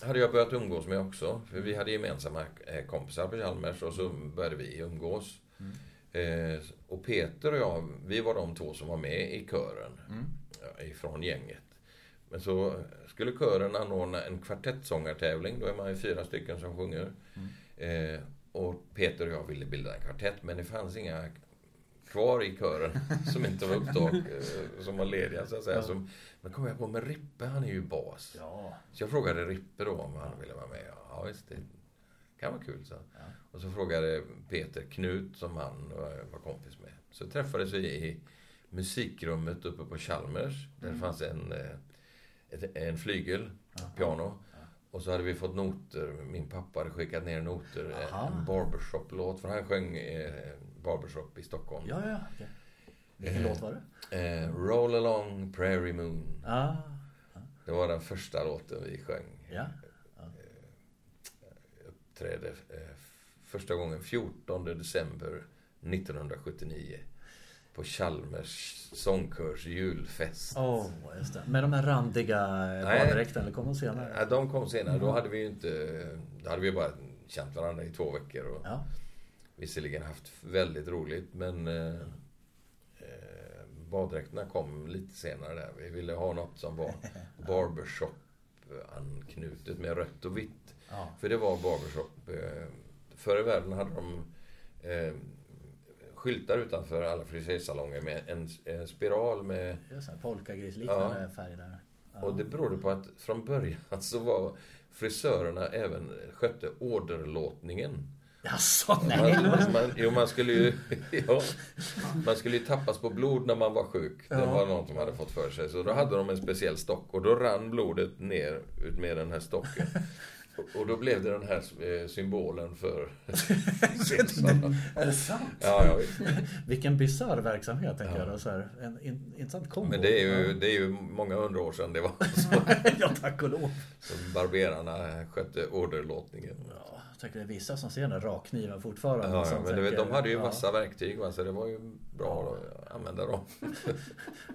[SPEAKER 1] hade jag börjat umgås med också. För vi hade gemensamma eh, kompisar på Chalmers och så började vi umgås. Eh, Och Peter och jag, vi var de två som var med i kören
[SPEAKER 2] Mm.
[SPEAKER 1] ja, eh, ifrån gänget. Men så skulle kören anordna en kvartettsångartävling. Då är man ju fyra stycken som sjunger. Eh, och Peter och jag ville bilda en kvartett, men det fanns inga kvar i kören som inte var upptag, eh, som var lediga så att säga. Som, men kom jag på, men Rippe han är ju bas.
[SPEAKER 2] Ja.
[SPEAKER 1] Så jag frågade Rippe då om han ville vara med. Ja, visst, det kan vara kul, så. Och så frågade Peter Knut, som han var- var kompis med. Så träffades vi i musikrummet uppe på Chalmers. Där
[SPEAKER 2] Mm.
[SPEAKER 1] fanns en, eh, ett- en flygel, piano. Och så hade vi fått noter. Min pappa hade skickat ner noter. en-
[SPEAKER 2] Aha.
[SPEAKER 1] En barbershop-låt. För han sjöng eh, barbershop i Stockholm.
[SPEAKER 2] Ja, ja. okej. Vilken låt var det?
[SPEAKER 1] Eh, Roll along prairie moon.
[SPEAKER 2] Ah,
[SPEAKER 1] Det var den första låten vi sjöng.
[SPEAKER 2] ja.
[SPEAKER 1] uppträdde eh, f- första gången 14 december 1979 på Chalmers sångkörs julfest.
[SPEAKER 2] Åh, just det. Med de här randiga
[SPEAKER 1] Nej.
[SPEAKER 2] baddräkterna, eller kom de senare?
[SPEAKER 1] Ja, de kom senare. Då hade vi ju inte... Då hade vi bara känt varandra i två veckor och
[SPEAKER 2] Ja.
[SPEAKER 1] visserligen haft väldigt roligt men eh, eh, baddräkterna kom lite senare där. Vi ville ha något som var barbershop-anknutet med rött och vitt.
[SPEAKER 2] Ja.
[SPEAKER 1] För det var barbershop. Eh, förr i världen hade de eh, skyltar utanför alla frisersalonger med en, en spiral med
[SPEAKER 2] Det är så här polkagrisliknande färg där.
[SPEAKER 1] och det berodde på att från början så var frisörerna även skötte orderlåtningen.
[SPEAKER 2] Jaså, nej.
[SPEAKER 1] Man, man, jo, man skulle ju... Ja, man skulle ju tappas på blod när man var sjuk. Det var någon som hade fått för sig. Så då hade de en speciell stock och då rann blodet ner ut med den här stocken. Och- Och då blev det den här eh, symbolen för Simpsons.
[SPEAKER 2] Är det sant?
[SPEAKER 1] Ja, ja, visst.
[SPEAKER 2] Vilken bisarr verksamhet, tänker jag. Då, så här. En in, intressant kombo.
[SPEAKER 1] Men det är, ju, det är ju många hundra år sedan det var så.
[SPEAKER 2] ja, tack och lov.
[SPEAKER 1] så barberarna skötte orderlåtningen.
[SPEAKER 2] Ja, jag tänker det är vissa som ser den där rakkniven fortfarande.
[SPEAKER 1] Ja,
[SPEAKER 2] som
[SPEAKER 1] ja, men du vet,
[SPEAKER 2] tänker,
[SPEAKER 1] de hade ju
[SPEAKER 2] ja,
[SPEAKER 1] vassa verktyg va, så det var ju bra att använda dem.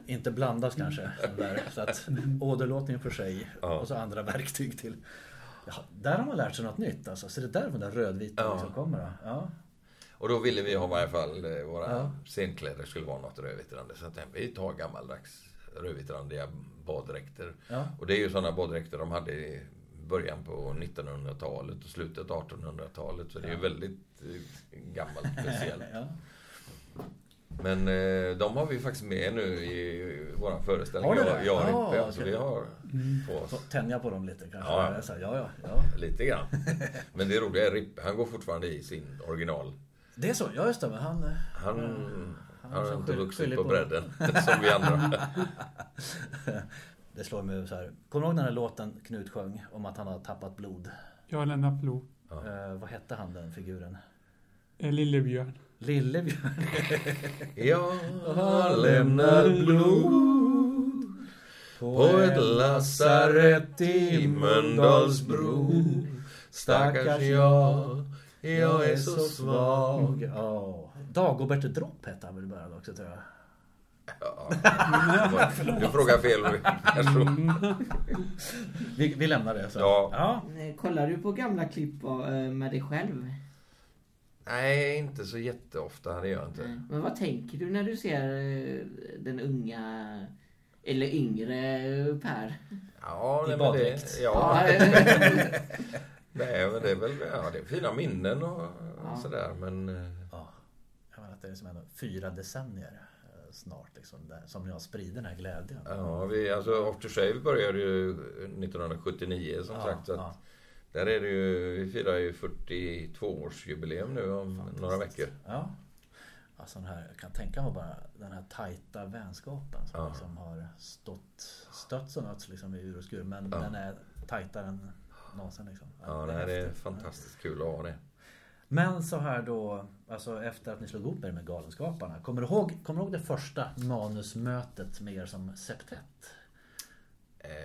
[SPEAKER 2] Inte blandas kanske. den Där. Så att åderlåtningen för sig
[SPEAKER 1] Ja.
[SPEAKER 2] och så andra verktyg till. Ja, där har man lärt sig något nytt alltså. Så det är därifrån den rödvita
[SPEAKER 1] Ja.
[SPEAKER 2] liksom kommer. då. Ja.
[SPEAKER 1] Och då ville vi ha i varje fall eh, våra scenkläder skulle vara något rödvittrande. Så jag tänkte vi tar gammaldags rödvittrandiga baddräkter.
[SPEAKER 2] Ja.
[SPEAKER 1] Och det är ju sådana baddräkter de hade i början på 1900-talet och slutet av 1800-talet. Så det är ju väldigt eh, gammalt speciellt.
[SPEAKER 2] Ja.
[SPEAKER 1] Men eh, de har vi faktiskt med nu i våran föreställning.
[SPEAKER 2] Har ni
[SPEAKER 1] jag,
[SPEAKER 2] det?
[SPEAKER 1] jag har
[SPEAKER 2] Ja,
[SPEAKER 1] inte, alltså,
[SPEAKER 2] okej. Mm.
[SPEAKER 1] vi har på
[SPEAKER 2] Så
[SPEAKER 1] oss
[SPEAKER 2] tänja på dem lite kanske.
[SPEAKER 1] Ja, ja.
[SPEAKER 2] Eller så här, ja, ja, ja.
[SPEAKER 1] lite grann. Men det roliga är Rippe, han går fortfarande i sin original.
[SPEAKER 2] Det är så, ja just det. Men han...
[SPEAKER 1] Han,
[SPEAKER 2] han
[SPEAKER 1] har
[SPEAKER 2] som
[SPEAKER 1] inte
[SPEAKER 2] skyll-
[SPEAKER 1] vuxit
[SPEAKER 2] skyller
[SPEAKER 1] på
[SPEAKER 2] på-
[SPEAKER 1] bredden som vi andra.
[SPEAKER 2] Det slår mig så här. Kommer du ihåg den här låten Knut sjöng om att han har tappat blod?
[SPEAKER 4] Jag har lämnat blod.
[SPEAKER 2] Eh, vad hette han den figuren?
[SPEAKER 4] Eh, Lillebjörn.
[SPEAKER 2] Lillebjörn.
[SPEAKER 1] Jag har lämnat blod på ett lasarett i Mölndalsbro. Stackars jag, jag är så svag.
[SPEAKER 2] Ja. Dagobert Dropp hette han väl i början också tror jag.
[SPEAKER 1] Ja, du frågar fel person.
[SPEAKER 2] Vi, vi lämnar det. Så.
[SPEAKER 1] Ja.
[SPEAKER 2] ja.
[SPEAKER 5] Eh, Kollar du på gamla klipp eh, med dig själv?
[SPEAKER 1] Nej, inte så jätteofta. Det gör jag inte.
[SPEAKER 5] Men vad tänker du när du ser eh, den unga eller yngre eh, Per?
[SPEAKER 1] Ja, nej, men
[SPEAKER 2] I
[SPEAKER 1] det,
[SPEAKER 2] baddräkt.
[SPEAKER 1] ja,
[SPEAKER 5] eh,
[SPEAKER 1] nej, men det är väl ja, det är fina minnen och
[SPEAKER 5] Ja.
[SPEAKER 1] sådär. Men eh,
[SPEAKER 2] ja. Jag menar att det är som ändå fyra decennier eh, snart liksom, där, som jag sprider den här glädjen.
[SPEAKER 1] ja, vi, alltså, After Shave började ju 1979 som
[SPEAKER 2] Ja,
[SPEAKER 1] sagt. Så att
[SPEAKER 2] ja.
[SPEAKER 1] Där är det ju, vi firar ju 42-årsjubileum nu om några veckor.
[SPEAKER 2] Ja. Alltså den här, jag kan tänka mig bara den här tajta vänskapen som
[SPEAKER 1] Ja.
[SPEAKER 2] liksom har stått, stötts och nötts liksom i ur och skur. Men den är tajtare än någonsin. Liksom.
[SPEAKER 1] Ja, det, det är
[SPEAKER 2] häftigt.
[SPEAKER 1] fantastiskt kul att ha det.
[SPEAKER 2] Men så här då, alltså efter att ni slog ihop er med Galenskaparna. Kommer du ihåg, kommer du ihåg det första manusmötet med er som septett?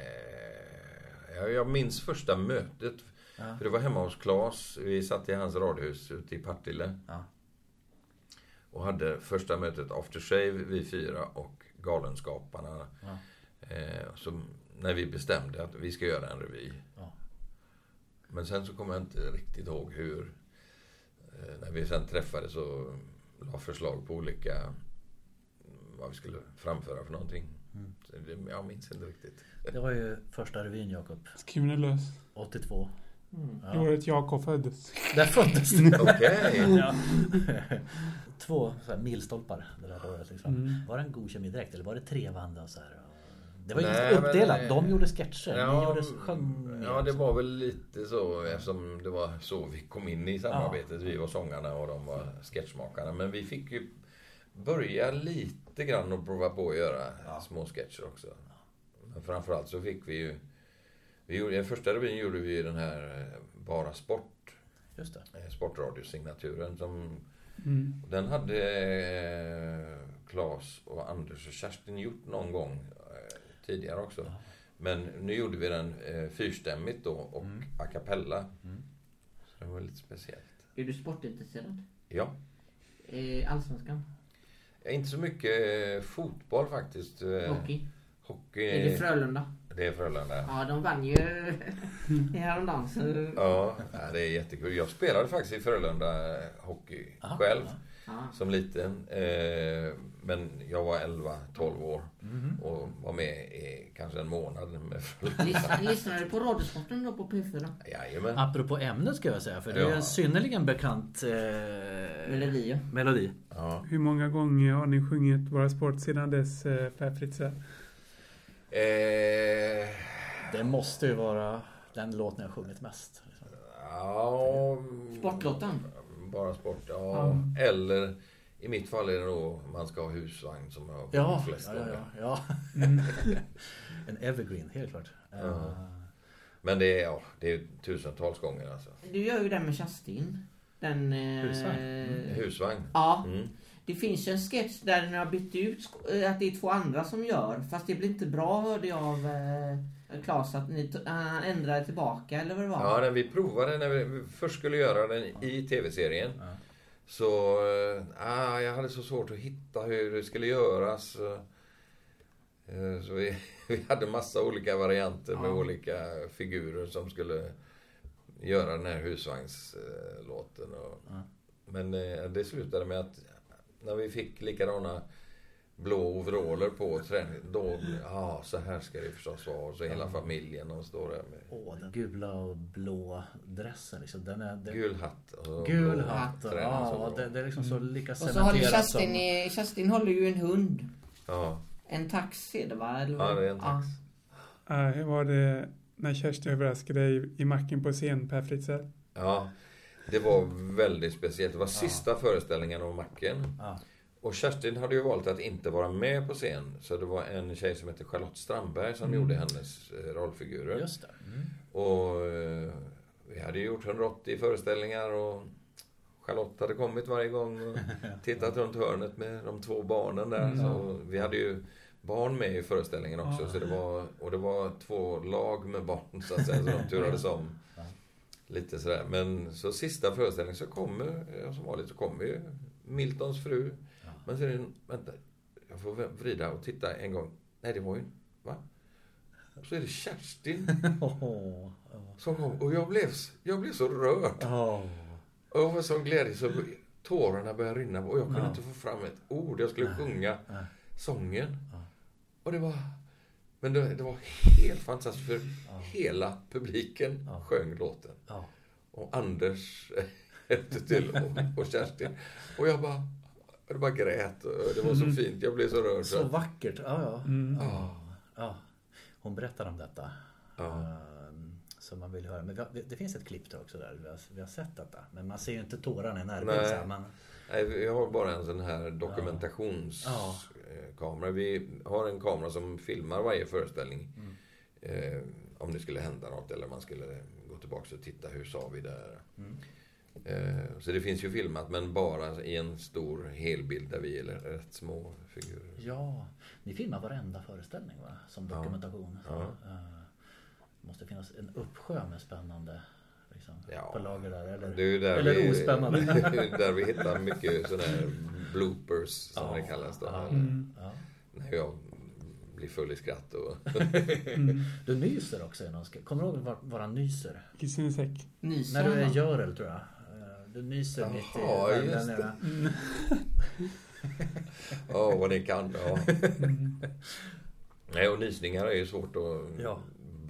[SPEAKER 1] Eh, jag- jag minns första mötet. För det var hemma hos Claes. Vi satt i hans radhus ute i Partille.
[SPEAKER 2] Ja.
[SPEAKER 1] Och hade första mötet After Shave, vi fyra och Galenskaparna.
[SPEAKER 2] Ja.
[SPEAKER 1] Eh, som, när vi bestämde att vi ska göra en revy.
[SPEAKER 2] Ja.
[SPEAKER 1] Men sen så kommer jag inte riktigt ihåg hur. Eh, när vi sen träffades och la förslag på olika mm, vad vi skulle framföra för någonting.
[SPEAKER 2] Mm.
[SPEAKER 1] Så det- Jag minns inte riktigt.
[SPEAKER 2] Det var ju första revyn Jakob,
[SPEAKER 4] Skriven lös.
[SPEAKER 2] 82.
[SPEAKER 4] Det året Jakob föddes.
[SPEAKER 2] Där föddes du!
[SPEAKER 1] Okej!
[SPEAKER 2] Ja. Två så här milstolpar det där året. Liksom. Var det en god kemi direkt eller var det trevande? Och så här? Det var ju
[SPEAKER 1] Nej,
[SPEAKER 2] lite uppdelat.
[SPEAKER 1] men- eh, mm,
[SPEAKER 2] De gjorde sketcher, ni gjorde sjöng. liksom. mer.
[SPEAKER 1] ja, det var väl lite så eftersom det var så vi kom in i samarbetet. Vi var sångarna och de var sketchmakarna. Men vi fick ju börja lite grann och prova på att göra små sketcher också. Men framförallt så fick vi ju... Vi gjorde, den första revyn gjorde vi ju den här eh, Bara Sport,
[SPEAKER 2] Just det.
[SPEAKER 1] eh, Sportradiosignaturen som
[SPEAKER 4] Mm.
[SPEAKER 1] och Den hade eh, Claes och Anders och Kerstin gjort någon gång eh, tidigare också. Men nu gjorde vi den eh, fyrstämmigt då och a cappella. Så det var lite speciellt.
[SPEAKER 5] är du sportintresserad?
[SPEAKER 1] Ja.
[SPEAKER 5] Eh, Allsvenskan?
[SPEAKER 1] Eh, Inte så mycket eh, fotboll faktiskt. Eh,
[SPEAKER 5] Hockey?
[SPEAKER 1] hockey.
[SPEAKER 5] Är det Frölunda?
[SPEAKER 1] Det är Frölunda.
[SPEAKER 5] Ja, de vann ju eh, häromdagen. så-
[SPEAKER 1] Ja, ja, det är jättekul. Jag spelade faktiskt i Frölunda eh, hockey
[SPEAKER 2] Aha.
[SPEAKER 1] själv.
[SPEAKER 5] Ja.
[SPEAKER 1] som liten. Eh, men jag var 11-12 år och var med i kanske en månad med
[SPEAKER 5] Lys- Lyssnar du på Radiosporten då på P4?
[SPEAKER 1] Jajamän.
[SPEAKER 2] Apropå ämnet ska jag säga, för det är
[SPEAKER 1] Ja.
[SPEAKER 2] en synnerligen bekant eh,
[SPEAKER 5] Melodier?
[SPEAKER 2] melodi.
[SPEAKER 1] Ja.
[SPEAKER 4] Hur många gånger har ni sjungit Våra sport sedan dess, eh, Per Fritzell?
[SPEAKER 1] Eh,
[SPEAKER 2] Det måste ju vara den låten jag sjungit mest. liksom.
[SPEAKER 1] ja, mm.
[SPEAKER 5] Sportlottan?
[SPEAKER 1] bara sport. Ja. Eller i mitt fall är det då man ska ha husvagn som jag har
[SPEAKER 2] Ja,
[SPEAKER 1] flest
[SPEAKER 2] ja, ja,
[SPEAKER 1] gånger.
[SPEAKER 2] ja, ja.
[SPEAKER 4] Mm.
[SPEAKER 2] en evergreen, helt klart. Eh,
[SPEAKER 1] Men det är, ja, det är tusentals gånger alltså.
[SPEAKER 5] Du gör ju den med Kerstin. Den... Eh,
[SPEAKER 2] Husvagn?
[SPEAKER 1] Husvagn.
[SPEAKER 5] Ja.
[SPEAKER 1] Mm.
[SPEAKER 5] Det finns ju en sketch där ni har bytt ut sk- eh, att det är två andra som gör. Fast det blir inte bra hörde jag av eh, Claes att ni to- han ändrade tillbaka eller vad det var.
[SPEAKER 1] Ja, när vi provade, när vi först skulle göra den i tv-serien. Så, eh, ah, jag hade så svårt att hitta hur det skulle göras. Eh, Så vi, vi hade massa olika varianter med olika figurer som skulle göra den här husvagnslåten. Och, Men eh, det slutade med att när vi fick likadana blå overaller på och träning. Då, ja, så här ska det förstås vara. Så hela familjen och står där med
[SPEAKER 2] Åh, den gula och blå dressen liksom. Den är... Den,
[SPEAKER 1] gul hatt. och
[SPEAKER 2] gul
[SPEAKER 1] blå
[SPEAKER 2] hatt.
[SPEAKER 1] träning och så
[SPEAKER 2] Ja,
[SPEAKER 1] bra.
[SPEAKER 2] det, det är liksom så lika
[SPEAKER 5] Och så har ju
[SPEAKER 2] cementerat som...
[SPEAKER 5] Kerstin, i, Kerstin håller ju en hund.
[SPEAKER 1] Ja,
[SPEAKER 5] En taxi är det va? Eller
[SPEAKER 1] ja,
[SPEAKER 5] vad?
[SPEAKER 1] det är en tax.
[SPEAKER 4] Ja, hur var det när Kerstin överraskade dig i macken på scen, Per Fritzell?
[SPEAKER 1] Ja, det var väldigt speciellt. Det var sista föreställningen av Macken.
[SPEAKER 2] Ja.
[SPEAKER 1] Och Kerstin hade ju valt att inte vara med på scen. Så det var en tjej som hette Charlotte Strandberg
[SPEAKER 2] Mm.
[SPEAKER 1] som gjorde hennes eh, rollfigurer.
[SPEAKER 2] Just det. Mm.
[SPEAKER 1] Och eh, vi hade ju gjort 180 föreställningar och Charlotte hade kommit varje gång och tittat runt hörnet med de två barnen där. Så vi hade ju barn med i föreställningen också. Så det var, och det var två lag med barn så att säga, så de turades om. Lite sådär. Men så sista föreställningen så kommer, eh, som vanligt, så kommer ju Miltons fru. Men så är det, vänta, jag får vrida och titta en gång. Nej, det var ju, va? Och så är det Kerstin.
[SPEAKER 2] Åh, ja.
[SPEAKER 1] Som kom. Och jag blev, jag blev så rörd.
[SPEAKER 2] Åh.
[SPEAKER 1] Och jag var så glädje så tårarna började rinna. Och jag kunde inte få fram ett ord. Jag skulle sjunga sången. Och det var... Men det, det var helt fantastiskt. För hela publiken sjöng låten.
[SPEAKER 2] Ja.
[SPEAKER 1] Och Anders hjälpte till. Och, och Kerstin. Och jag bara... Jag bara grät. Och Det var så fint. Jag blev så rörd.
[SPEAKER 2] Så
[SPEAKER 1] Så,
[SPEAKER 2] vackert. Ja, ja. Ja. ja. Hon berättar om detta. Ehm, Som man vill höra. Men vi har, det finns ett klipp där också där vi har, vi har sett detta. Men man ser ju inte tårarna i närbild.
[SPEAKER 1] Nej.
[SPEAKER 2] så här, Man,
[SPEAKER 1] Nej, jag har bara en sån här dokumentationskamera. Vi har en kamera som filmar varje föreställning.
[SPEAKER 2] Mm.
[SPEAKER 1] Eh, om det skulle hända något eller man skulle gå tillbaka och titta, hur sa vi där?
[SPEAKER 2] Mm.
[SPEAKER 1] Eh, så det finns ju filmat, men bara i en stor helbild där vi är rätt små figurer.
[SPEAKER 2] ja, ni filmar varenda föreställning va? Som dokumentation. Ehm, måste finnas en uppsjö med spännande liksom,
[SPEAKER 1] Ja.
[SPEAKER 2] på lager där. Eller,
[SPEAKER 1] Det är ju där,
[SPEAKER 2] eller
[SPEAKER 1] vi,
[SPEAKER 2] ospännande.
[SPEAKER 1] det är ju där vi hittar mycket sådana här bloopers, som det kallas. Då, eller
[SPEAKER 2] Ja.
[SPEAKER 1] När jag blir full i skratt och...
[SPEAKER 4] Mm.
[SPEAKER 2] Du nyser också i någon sk- Kommer du ihåg var, var han nyser?
[SPEAKER 4] I sin säck.
[SPEAKER 5] Nyser
[SPEAKER 2] När du är i
[SPEAKER 5] han?
[SPEAKER 2] Görel tror jag. Ehm, Du nyser mitt i
[SPEAKER 1] Jaha, just
[SPEAKER 2] värmlänningarna.
[SPEAKER 1] Ja, vad ni kan. Ja. Nej, och nysningar är ju svårt att
[SPEAKER 2] Ja.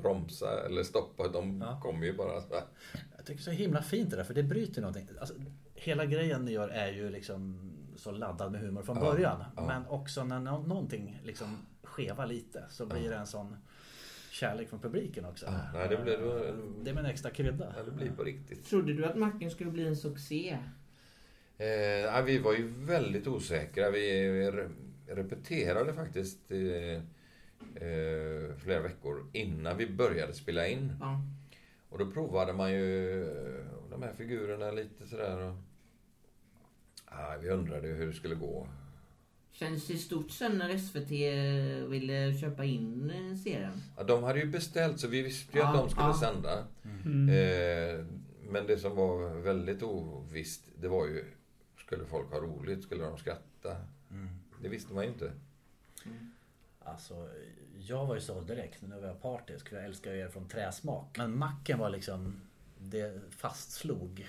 [SPEAKER 1] bromsa eller stoppa. De
[SPEAKER 2] Ja.
[SPEAKER 1] kommer ju bara så här.
[SPEAKER 2] Jag tycker det är så himla fint det där, för det bryter någonting. Alltså, hela grejen ni gör är ju liksom så laddad med humor från början. Men också när nå- någonting liksom skevar lite så blir det en sån kärlek från publiken också. Eh,
[SPEAKER 1] Nej, det blir, det var-
[SPEAKER 2] Det är med en extra krydda.
[SPEAKER 1] nej, det blir på riktigt.
[SPEAKER 5] Trodde du att macken skulle bli en succé?
[SPEAKER 1] Eh, nej, vi var ju väldigt osäkra. Vi re- repeterade faktiskt eh, eh, flera veckor innan vi började spela in.
[SPEAKER 5] Ja.
[SPEAKER 1] Och då provade man ju eh, de här figurerna lite sådär. Och... Ah, vi undrade ju hur det skulle gå.
[SPEAKER 5] Känns det stort sen när SVT eh, ville köpa in eh, serien?
[SPEAKER 1] Ja, de hade ju beställt så vi visste ju att
[SPEAKER 5] Ja,
[SPEAKER 1] de skulle
[SPEAKER 5] ja. Mm.
[SPEAKER 1] sända. Eh, men det som var väldigt ovisst, det var ju skulle folk ha roligt? Skulle de skratta? Det visste man ju inte.
[SPEAKER 2] Alltså, jag var ju såld direkt, nu var jag partisk för jag älskar ju er från träsmak. Men macken var liksom, det fastslog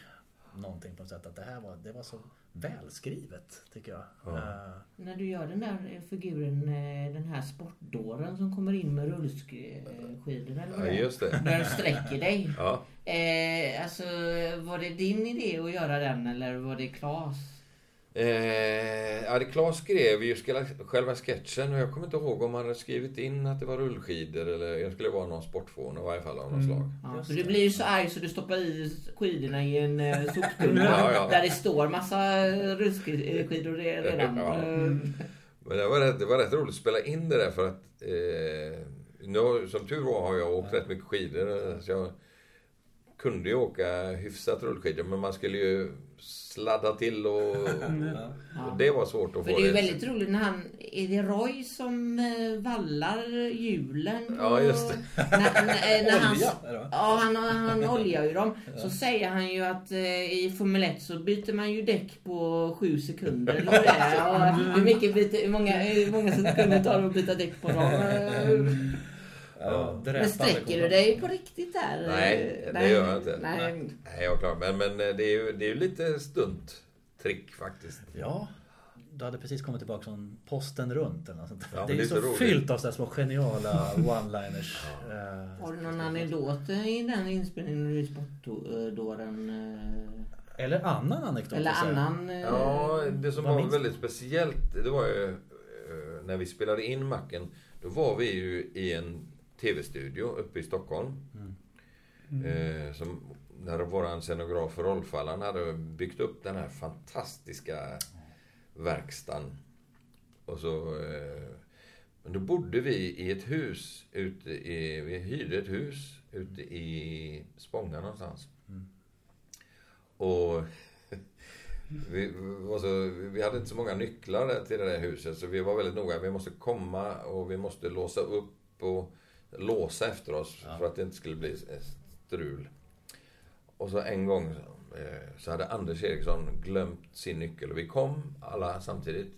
[SPEAKER 2] någonting på något sätt. Att det här var, det var så välskrivet tycker jag. Eh,
[SPEAKER 5] När du gör den där eh, figuren, eh, den här sportdåren som kommer in med rullskidor eller vad
[SPEAKER 1] Ja,
[SPEAKER 5] det är.
[SPEAKER 1] just det.
[SPEAKER 5] När du sträcker dig.
[SPEAKER 1] Ja.
[SPEAKER 5] Eh, alltså, var det din idé att göra den eller var det Klas?
[SPEAKER 1] Eh, ja, det Claes skrev ju skela- själva sketchen och jag kommer inte ihåg om han hade skrivit in att det var rullskidor eller jag skulle vara någon sportfån i varje fall av något slag.
[SPEAKER 5] Ja,
[SPEAKER 2] Just
[SPEAKER 5] för du
[SPEAKER 2] det.
[SPEAKER 5] blir ju så arg så du stoppar i skidorna i en eh, soptunna
[SPEAKER 1] Ja, ja.
[SPEAKER 5] där det står massa eh, rullskidor re- redan.
[SPEAKER 1] Ja.
[SPEAKER 5] Eh,
[SPEAKER 1] Men det var, rätt, det var rätt roligt att spela in det där för att eh, nu, har- som tur var har jag åkt rätt mycket skidor. eh, Så jag kunde ju åka hyfsat rullskidor men man skulle ju sladda till och, och det var svårt att
[SPEAKER 5] För
[SPEAKER 1] få
[SPEAKER 5] det är ju väldigt roligt när han, är det Roy som eh, vallar hjulen? på-
[SPEAKER 1] Ja, just det.
[SPEAKER 5] När, när, när han,
[SPEAKER 2] Olja, eller vad?
[SPEAKER 5] ja, han, han oljar ju dem. Så säger han ju att eh, i Formel 1 så byter man ju däck på sju sekunder. Eller vad det är. Och hur, mycket byter, hur, många, hur många sekunder tar det att byta däck på dem?
[SPEAKER 1] Mm.
[SPEAKER 5] Eh,
[SPEAKER 2] Ja,
[SPEAKER 5] Men sträcker du dig på riktigt där?
[SPEAKER 1] Nej,
[SPEAKER 5] Eh,
[SPEAKER 1] det gör jag inte.
[SPEAKER 5] Nej.
[SPEAKER 1] Nej, jag klarar men, men eh, det är ju, det är ju lite stunt trick faktiskt.
[SPEAKER 2] Ja, du hade precis kommit tillbaka från posten runt eller något sånt.
[SPEAKER 1] Ja, men
[SPEAKER 2] det är
[SPEAKER 1] det
[SPEAKER 2] ju
[SPEAKER 1] är
[SPEAKER 2] så
[SPEAKER 1] inte roligt.
[SPEAKER 2] fyllt av sådana små geniala one-liners. Eh,
[SPEAKER 5] Har du någon anekdot eh, i den inspelningen du är sportdåren? eh,
[SPEAKER 2] Eller annan anekdot.
[SPEAKER 5] Eller
[SPEAKER 2] så här.
[SPEAKER 5] annan? eh,
[SPEAKER 1] Ja, det som
[SPEAKER 2] Vad
[SPEAKER 1] var
[SPEAKER 2] minns
[SPEAKER 1] väldigt speciellt, det var ju eh, när vi spelade in Macken. Då var vi ju i en tv-studio uppe i Stockholm.
[SPEAKER 2] Mm.
[SPEAKER 1] Eh, som, när vår scenograf Rolf Allan hade byggt upp den här fantastiska verkstaden. Och så... Eh, men då bodde vi i ett hus ute i... Vi hyrde ett hus ute i Spånga någonstans. Och vi, var så, vi hade inte så många nycklar där till det där huset så vi var väldigt noga. Vi måste komma och vi måste låsa upp och låsa efter oss för att det inte skulle bli strul. Och så en gång eh, så hade Anders Eriksson glömt sin nyckel och vi kom alla samtidigt.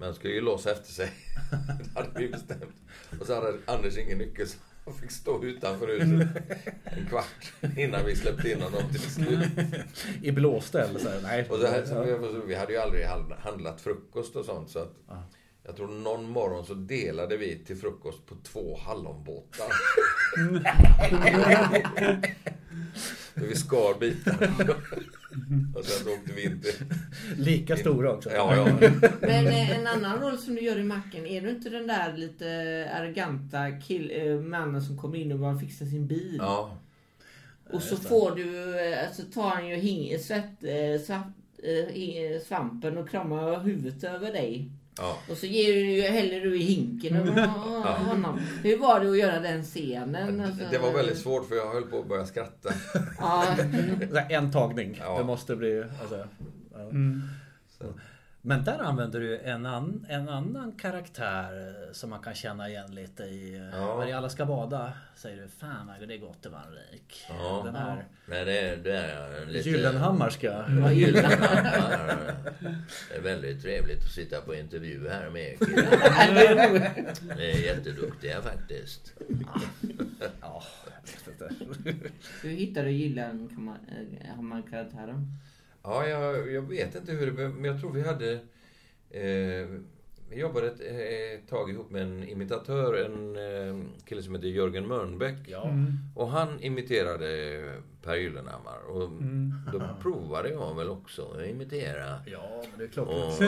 [SPEAKER 1] Men skulle ju låsa efter sig. det hade vi bestämt. Och så hade Anders ingen nyckel så han fick stå utanför huset en kvart innan vi släppte in honom till slut.
[SPEAKER 2] I blåste eller så här. Nej.
[SPEAKER 1] Och det här, så vi- vi hade ju aldrig hand- handlat frukost och sånt. Så att jag tror någon morgon så delade vi till frukost på två hallonbåtar. Men vi skar bitar. och sen åkte vi in till...
[SPEAKER 2] Lika stora också.
[SPEAKER 1] Ja, ja.
[SPEAKER 5] Men eh, en annan roll som du gör i Macken, är du inte den där lite arroganta kill, eh, mannen som kommer in och bara fixar sin bil?
[SPEAKER 1] ja.
[SPEAKER 5] Och så får du, eh, så tar han ju hing, svett, eh, svamp, eh, hing- eh, svampen och kramar huvudet över dig.
[SPEAKER 1] ja.
[SPEAKER 5] Och så ger du, ju- häller du i hinken över honom. Hur var det att göra den scenen? Alltså,
[SPEAKER 1] Det var väldigt svårt för jag höll på att börja skratta.
[SPEAKER 5] Ja,
[SPEAKER 2] Så här, En tagning.
[SPEAKER 1] Ja.
[SPEAKER 2] Det måste bli... Alltså, ja.
[SPEAKER 4] Mm.
[SPEAKER 2] Men där använder du en, an, en annan karaktär eh, som man kan känna igen lite i. eh,
[SPEAKER 1] Ja.
[SPEAKER 2] När alla ska bada säger du Fan vad det är gott att vara rik.
[SPEAKER 1] Ja.
[SPEAKER 2] Den här
[SPEAKER 1] Men det, det är lite...
[SPEAKER 2] Gyllenhammarska.
[SPEAKER 1] Ja, Gyllenhammar. Det är väldigt trevligt att sitta på intervju här med er killar. Ni är jätteduktiga faktiskt.
[SPEAKER 2] Ja, jag vet inte.
[SPEAKER 5] hur hittar du eh, Gyllenhammar-karaktären?
[SPEAKER 1] Ja, jag, jag vet inte hur det blev, men jag tror vi hade... Eh, vi jobbade ett eh, tag ihop med en imitatör, en eh, kille som heter Jörgen Mörnbäck.
[SPEAKER 2] Ja.
[SPEAKER 1] Och han imiterade Per Gyllenhammar. Och då provade jag väl också att imitera.
[SPEAKER 2] ja, men det är klart.
[SPEAKER 1] Och,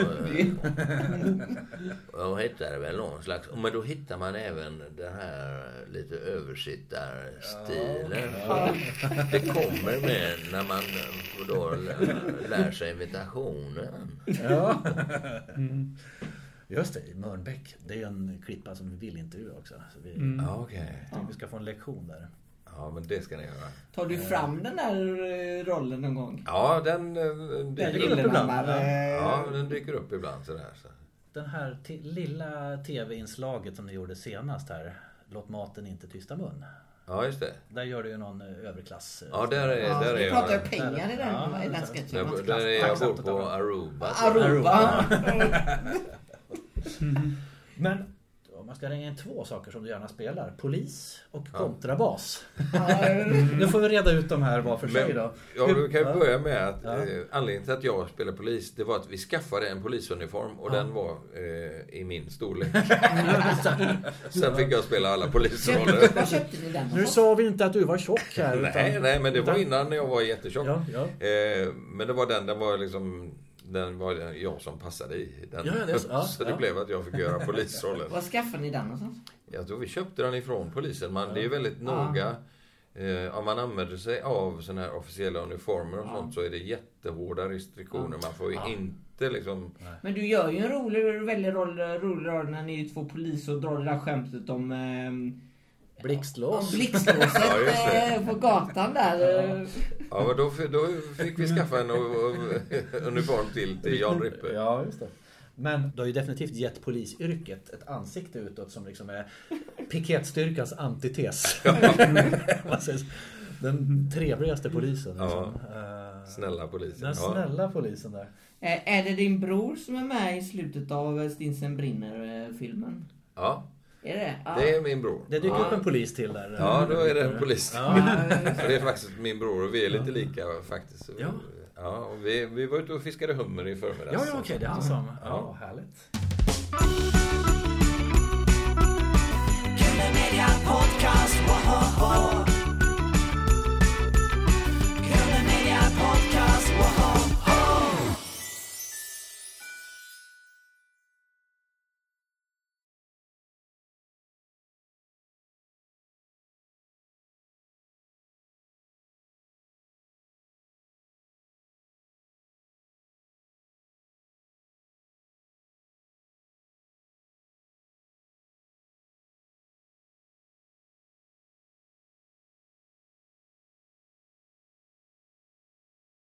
[SPEAKER 1] eh, och hittade väl någon slags... Men då hittar man även den här lite översittarstilen. Det kommer med när man då lär sig imitationen.
[SPEAKER 2] Ja. Just det, i Mörnbäck. Det är ju en klippa som vi vill intervjua också. Så vi,
[SPEAKER 1] Ja, okej.
[SPEAKER 2] vi ska få en lektion där.
[SPEAKER 1] Ja, men det ska ni göra.
[SPEAKER 5] Tar
[SPEAKER 1] Eh.
[SPEAKER 5] du fram den där eh, rollen någon gång? eh,
[SPEAKER 1] Ja, den eh,
[SPEAKER 5] Den
[SPEAKER 1] dyker upp.
[SPEAKER 5] Gyllenhammar...
[SPEAKER 1] Ja, den dyker upp ibland sådär. Så.
[SPEAKER 2] Den här te- lilla tv-inslaget som ni gjorde senast här. Låt maten inte tysta mun.
[SPEAKER 1] Ja, just det.
[SPEAKER 2] Där gör du ju någon eh, överklass. eh,
[SPEAKER 1] Ja, där är,
[SPEAKER 5] Ja,
[SPEAKER 1] där är
[SPEAKER 5] vi pratar
[SPEAKER 1] jag.
[SPEAKER 5] ju pengar i den,
[SPEAKER 2] Ja,
[SPEAKER 5] i den
[SPEAKER 2] där-
[SPEAKER 5] här sketchen.
[SPEAKER 1] Där, där är jag
[SPEAKER 2] Tacksamt
[SPEAKER 1] bor
[SPEAKER 2] att
[SPEAKER 1] på
[SPEAKER 2] ta.
[SPEAKER 1] Aruba. så-
[SPEAKER 5] Aruba.
[SPEAKER 2] Men om man ska ringa in två saker som du gärna spelar. Polis och kontrabas. Nu får vi reda ut de här var för sig
[SPEAKER 1] Men,
[SPEAKER 2] då.
[SPEAKER 1] ja,
[SPEAKER 2] Hur-
[SPEAKER 1] vi kan ju
[SPEAKER 2] Ja.
[SPEAKER 1] börja med att eh, anledningen till att jag spelade polis, det var att vi skaffade en polisuniform och den var eh, i min storlek. Sen fick jag spela alla polisroller.
[SPEAKER 5] Var köpte ni den?
[SPEAKER 2] Nu sa vi inte att du var tjock här.
[SPEAKER 1] Nej, nej, men det var innan när jag var jättetjock.
[SPEAKER 2] Ja, ja.
[SPEAKER 1] Eh, men det var den, den var liksom, den var jag som passade i den.
[SPEAKER 2] Ja, ja, det är så. Ja,
[SPEAKER 1] så det
[SPEAKER 2] ja.
[SPEAKER 1] blev att jag fick göra polisrollen.
[SPEAKER 5] Var skaffade ni den någonstans?
[SPEAKER 1] Jag tror vi köpte den ifrån polisen. Man, Det är väldigt noga. Eh, om man använder sig av såna här officiella uniformer och sånt så är det jättehårda restriktioner. Man får ju inte liksom...
[SPEAKER 5] Men du gör ju en rolig, du väljer roll, rolig roll när ni är två poliser och drar det där skämtet om, eh, om
[SPEAKER 2] Blixtlås.
[SPEAKER 5] blixtlåset
[SPEAKER 1] Ja, just det.
[SPEAKER 5] eh, på gatan där. eh.
[SPEAKER 1] Ja, men då, f- då fick vi skaffa en o- o- uniform till till Jan Rippe.
[SPEAKER 2] Ja, just det. Men du har ju definitivt gett polisyrket ett ansikte utåt som liksom är piketstyrkans antites. Man säger så. Den trevligaste polisen. Liksom. Eh,
[SPEAKER 1] Snälla polisen.
[SPEAKER 2] Den
[SPEAKER 1] Ja.
[SPEAKER 2] snälla polisen där.
[SPEAKER 5] Eh, Är det din bror som är med i slutet av eh, Stinsen brinner-filmen?
[SPEAKER 1] ja,
[SPEAKER 5] Är det? Ja.
[SPEAKER 1] det är min bror.
[SPEAKER 2] Det dyker
[SPEAKER 1] ja.
[SPEAKER 2] upp en polis till där.
[SPEAKER 1] Ja, då är det en polis.
[SPEAKER 2] Ja.
[SPEAKER 1] Så det är faktiskt min bror och vi är lite lika faktiskt.
[SPEAKER 2] Ja.
[SPEAKER 1] Ja. Ja, och vi, vi var ute och fiskade hummer i förmiddags.
[SPEAKER 2] Ja, ja, okej, det är han Alltså, som... Ja,
[SPEAKER 1] Ja.
[SPEAKER 2] härligt.
[SPEAKER 3] Media Podcast, wohoho.